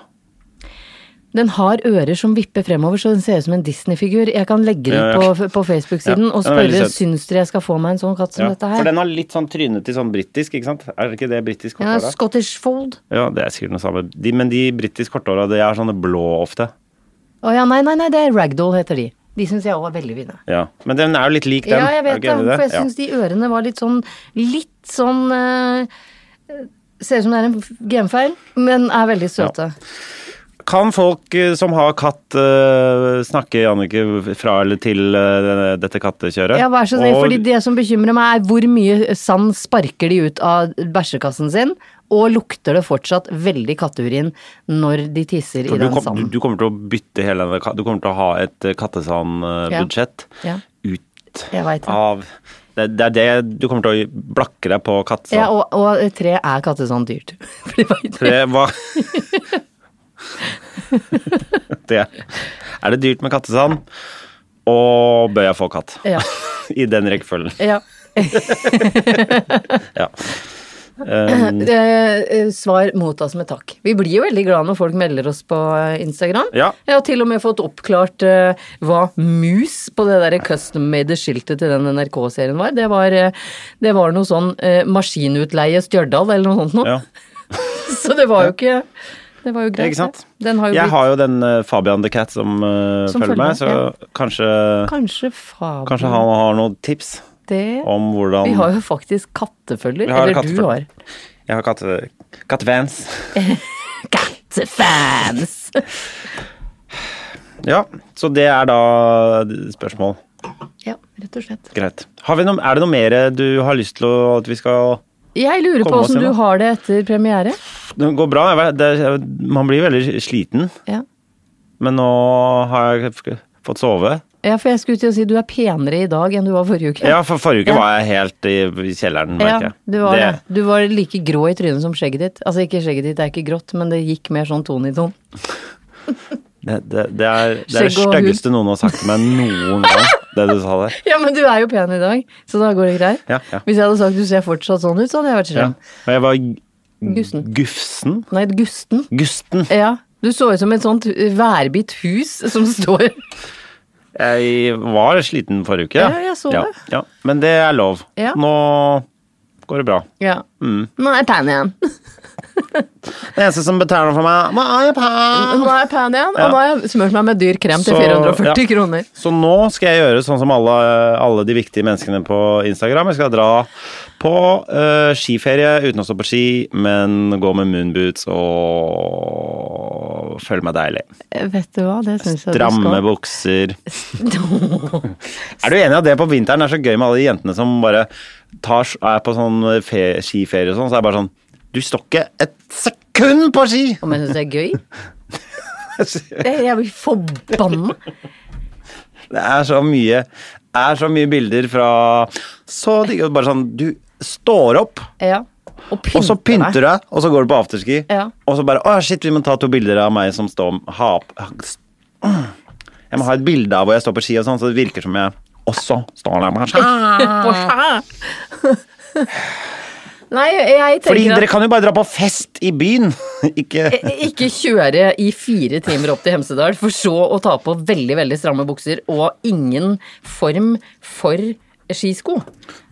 Speaker 2: Den har ører som vipper fremover, så den ser ut som en Disney-figur. Jeg kan legge den
Speaker 1: Ja, ja.
Speaker 2: på, på Facebook-siden
Speaker 1: Ja,
Speaker 2: og
Speaker 1: den er veldig
Speaker 2: spørre
Speaker 1: søt.
Speaker 2: syns dere jeg skal få meg en sånn katt som
Speaker 1: Ja.
Speaker 2: dette
Speaker 1: For
Speaker 2: her.
Speaker 1: den har litt sånn trynet til sånn britisk, ikke sant? Er ikke det britisk
Speaker 2: Ja,
Speaker 1: korthåra?
Speaker 2: Scottish Fold.
Speaker 1: Ja, det er sikkert noe samme. De, men de britisk korthåra, de er sånne blå ofte.
Speaker 2: Å ja, nei, nei, nei, det er Ragdoll heter de. De syns jeg òg er veldig fine.
Speaker 1: Ja. Men den er jo litt lik den.
Speaker 2: Ja,
Speaker 1: er
Speaker 2: jeg vet
Speaker 1: du ikke
Speaker 2: det,
Speaker 1: enig i
Speaker 2: for jeg
Speaker 1: Ja.
Speaker 2: syns de ørene var litt sånn Litt sånn eh, Ser ut som det er en f- genfeil, men er veldig søte.
Speaker 1: Kan folk eh, som har katt eh, snakke Jannicke fra eller til eh, denne- dette kattekjøret?
Speaker 2: Ja, vær så snill,
Speaker 1: Og-
Speaker 2: fordi Det som bekymrer meg, er hvor mye sand sparker de ut av bæsjekassen sin, og lukter det fortsatt veldig katteurin når de tisser i
Speaker 1: for du,
Speaker 2: den
Speaker 1: kom, du,
Speaker 2: sanden.
Speaker 1: du kommer til å bytte hele denne ka- Du kommer til å ha et eh,
Speaker 2: Ja.
Speaker 1: kattesandbudsjett
Speaker 2: Ja.
Speaker 1: ut
Speaker 2: Jeg vet det.
Speaker 1: av det, det er det du kommer til å blakke deg på kattesand.
Speaker 2: Ja, og, og tre er kattesand dyrt. For de vet det.
Speaker 1: Det var det. Er det dyrt med kattesand? Og bør jeg få katt?
Speaker 2: Ja.
Speaker 1: I den rekkefølgen.
Speaker 2: ja.
Speaker 1: Ja. Um,
Speaker 2: Eh, eh, svar mottas med takk. Vi blir jo veldig glad når folk melder oss på eh, Instagram.
Speaker 1: Ja.
Speaker 2: Jeg har til og med fått oppklart eh, hva mus på det der custom-made-skiltet til den NRK-serien var. Det var, eh, det var noe sånn eh, maskinutleie Stjørdal eller noe sånt noe.
Speaker 1: ja.
Speaker 2: Så det var jo ikke Det var jo greit.
Speaker 1: Eh, Ikke sant?
Speaker 2: det. Den har jo
Speaker 1: Jeg
Speaker 2: blitt
Speaker 1: har jo den eh, Fabian the Cat som, eh,
Speaker 2: Som
Speaker 1: følger
Speaker 2: følger
Speaker 1: meg,
Speaker 2: med,
Speaker 1: så
Speaker 2: ja.
Speaker 1: kanskje,
Speaker 2: Kanskje faen
Speaker 1: kanskje han har noen tips
Speaker 2: det
Speaker 1: om
Speaker 2: Vi
Speaker 1: hvordan
Speaker 2: har jo faktisk kattefølger.
Speaker 1: Vi har
Speaker 2: Eller du
Speaker 1: kattefølger.
Speaker 2: har.
Speaker 1: Jeg har katte, kattefans.
Speaker 2: Kattefans!
Speaker 1: Ja, så det er da spørsmål.
Speaker 2: ja, rett og slett.
Speaker 1: Greit. Har vi noe, er det noe mer du har lyst til å, at vi skal
Speaker 2: Jeg lurer på
Speaker 1: Kom oss
Speaker 2: åssen du
Speaker 1: gjennom.
Speaker 2: har det etter premiere.
Speaker 1: Det går bra. Jeg vet, det, man blir veldig sliten,
Speaker 2: Ja.
Speaker 1: men nå har jeg f- fått sove.
Speaker 2: Ja, for jeg skulle til å si du er penere i dag enn du var forrige uke.
Speaker 1: Ja, for forrige uke
Speaker 2: Ja.
Speaker 1: var jeg helt i i kjelleren,
Speaker 2: Ja,
Speaker 1: merker jeg.
Speaker 2: du var det. Du var like grå i trynet som skjegget ditt. Altså ikke skjegget ditt, det er ikke grått, men det gikk mer sånn tone i ton.
Speaker 1: Det, det, det er det, er det
Speaker 2: Skjegg og hud.
Speaker 1: styggeste noen har sagt til meg noen gang, det du sa der.
Speaker 2: Ja, men du er jo pen i dag, så da går det greit.
Speaker 1: Ja, ja.
Speaker 2: Hvis jeg hadde sagt du ser fortsatt sånn ut, så hadde jeg vært
Speaker 1: Ja.
Speaker 2: slem.
Speaker 1: Og jeg var g-
Speaker 2: Gusten. Eh.
Speaker 1: Gufsen?
Speaker 2: Nei, Gusten.
Speaker 1: Gusten.
Speaker 2: Ja, du så ut som et sånt værbitt hus som står
Speaker 1: Jeg var sliten forrige uke.
Speaker 2: Ja, jeg så
Speaker 1: ja,
Speaker 2: det.
Speaker 1: Ja. Men det er lov.
Speaker 2: Ja.
Speaker 1: Nå går det bra.
Speaker 2: Ja.
Speaker 1: Mm.
Speaker 2: Nå er jeg pen igjen.
Speaker 1: Det eneste som betaler for meg Nå er jeg pen!
Speaker 2: Nå er jeg pen igjen,
Speaker 1: Ja.
Speaker 2: og nå har jeg smurt meg med dyr krem til
Speaker 1: Så,
Speaker 2: 440
Speaker 1: ja.
Speaker 2: kroner.
Speaker 1: Så nå skal jeg gjøre sånn som alle, alle de viktige menneskene på Instagram. Jeg skal dra på eh, skiferie uten å stå på ski, men gå med moonboots og føle meg deilig.
Speaker 2: Eh, Vet du hva, det syns jeg du
Speaker 1: Stramme
Speaker 2: skal.
Speaker 1: bukser. Er du enig i at det på vinteren er så gøy med alle de jentene som bare tar, er på sånn fe, skiferie og sånn, så er det bare sånn Du står ikke et sekund på ski!
Speaker 2: Om jeg syns det er gøy? Jeg jeg blir forbanna.
Speaker 1: Det er så mye er så mye bilder fra Så digg. og Bare sånn Du står opp,
Speaker 2: Ja. Og,
Speaker 1: og så pynter du
Speaker 2: deg.
Speaker 1: deg, og så går du på afterski,
Speaker 2: Ja.
Speaker 1: og så bare Å, shit, vi må ta to bilder av meg som står ha, Jeg må ha et bilde av hvor jeg står på ski og sånn, så det virker som jeg også står der med ski.
Speaker 2: Ah. Nei, jeg
Speaker 1: Fordi
Speaker 2: tenker
Speaker 1: dere kan jo bare dra på fest i byen, ikke
Speaker 2: at ikke kjøre i fire timer opp til Hemsedal, for så å ta på veldig veldig stramme bukser og ingen form for skisko.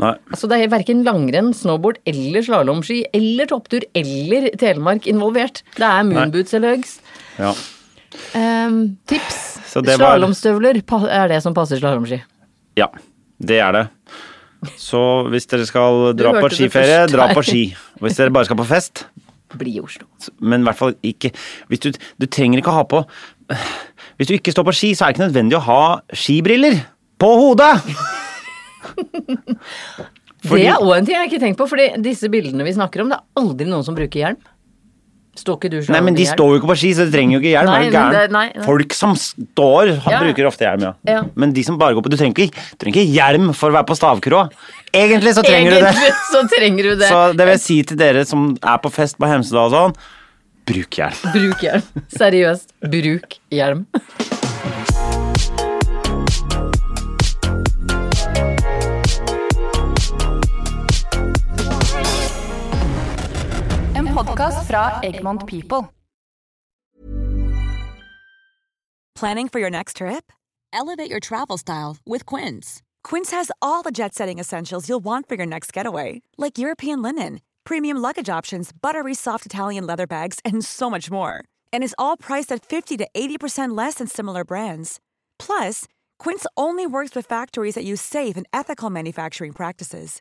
Speaker 1: Nei.
Speaker 2: Altså det er verken langrenn, snowboard eller slalåmski eller topptur eller Telemark involvert. Det er moonboots eller Uggs.
Speaker 1: Ja.
Speaker 2: Ehm, tips!
Speaker 1: Så det var-
Speaker 2: Slalåmstøvler pa- er det som passer slalåmski.
Speaker 1: ja. Det er det. Så hvis dere skal
Speaker 2: Du
Speaker 1: dra på
Speaker 2: hørte det
Speaker 1: skiferie,
Speaker 2: først
Speaker 1: dra
Speaker 2: her.
Speaker 1: på ski. Og Hvis dere bare skal på fest,
Speaker 2: Bli i Oslo.
Speaker 1: men i hvert fall ikke hvis du, du trenger ikke å ha på Hvis du ikke står på ski, så er det ikke nødvendig å ha skibriller på hodet!
Speaker 2: Det er òg en ting jeg ikke har tenkt på, for disse bildene vi snakker om, det er aldri noen som bruker hjelm. Står ikke du slalåm
Speaker 1: Nei, men
Speaker 2: i
Speaker 1: de
Speaker 2: hjelm?
Speaker 1: står jo ikke på ski, så de trenger jo ikke hjelm.
Speaker 2: Nei,
Speaker 1: er du
Speaker 2: men det-
Speaker 1: gæren?
Speaker 2: nei, nei.
Speaker 1: Folk som står, har,
Speaker 2: Ja.
Speaker 1: bruker ofte hjelm, ja.
Speaker 2: Ja.
Speaker 1: Men de som bare går på Du trenger ikke, du trenger ikke hjelm for å være på stavkroa. Egentlig så trenger du det.
Speaker 2: Egentlig så trenger du det.
Speaker 1: Så det vil jeg si til dere som er på fest på Hemsedal og sånn, bruk hjelm.
Speaker 2: Bruk hjelm. Seriøst, bruk hjelm.
Speaker 3: En podkast fra Egmont People.
Speaker 4: Planning for your next trip? Elevate your travel style with Quince. Quince has all the jet setting essentials you'll want for your next getaway, like European linen, premium luggage options, buttery soft Italian leather bags, and so much more. And is all priced at 50 to 80% less than similar brands. Plus, Quince only works with factories that use safe and ethical manufacturing practices.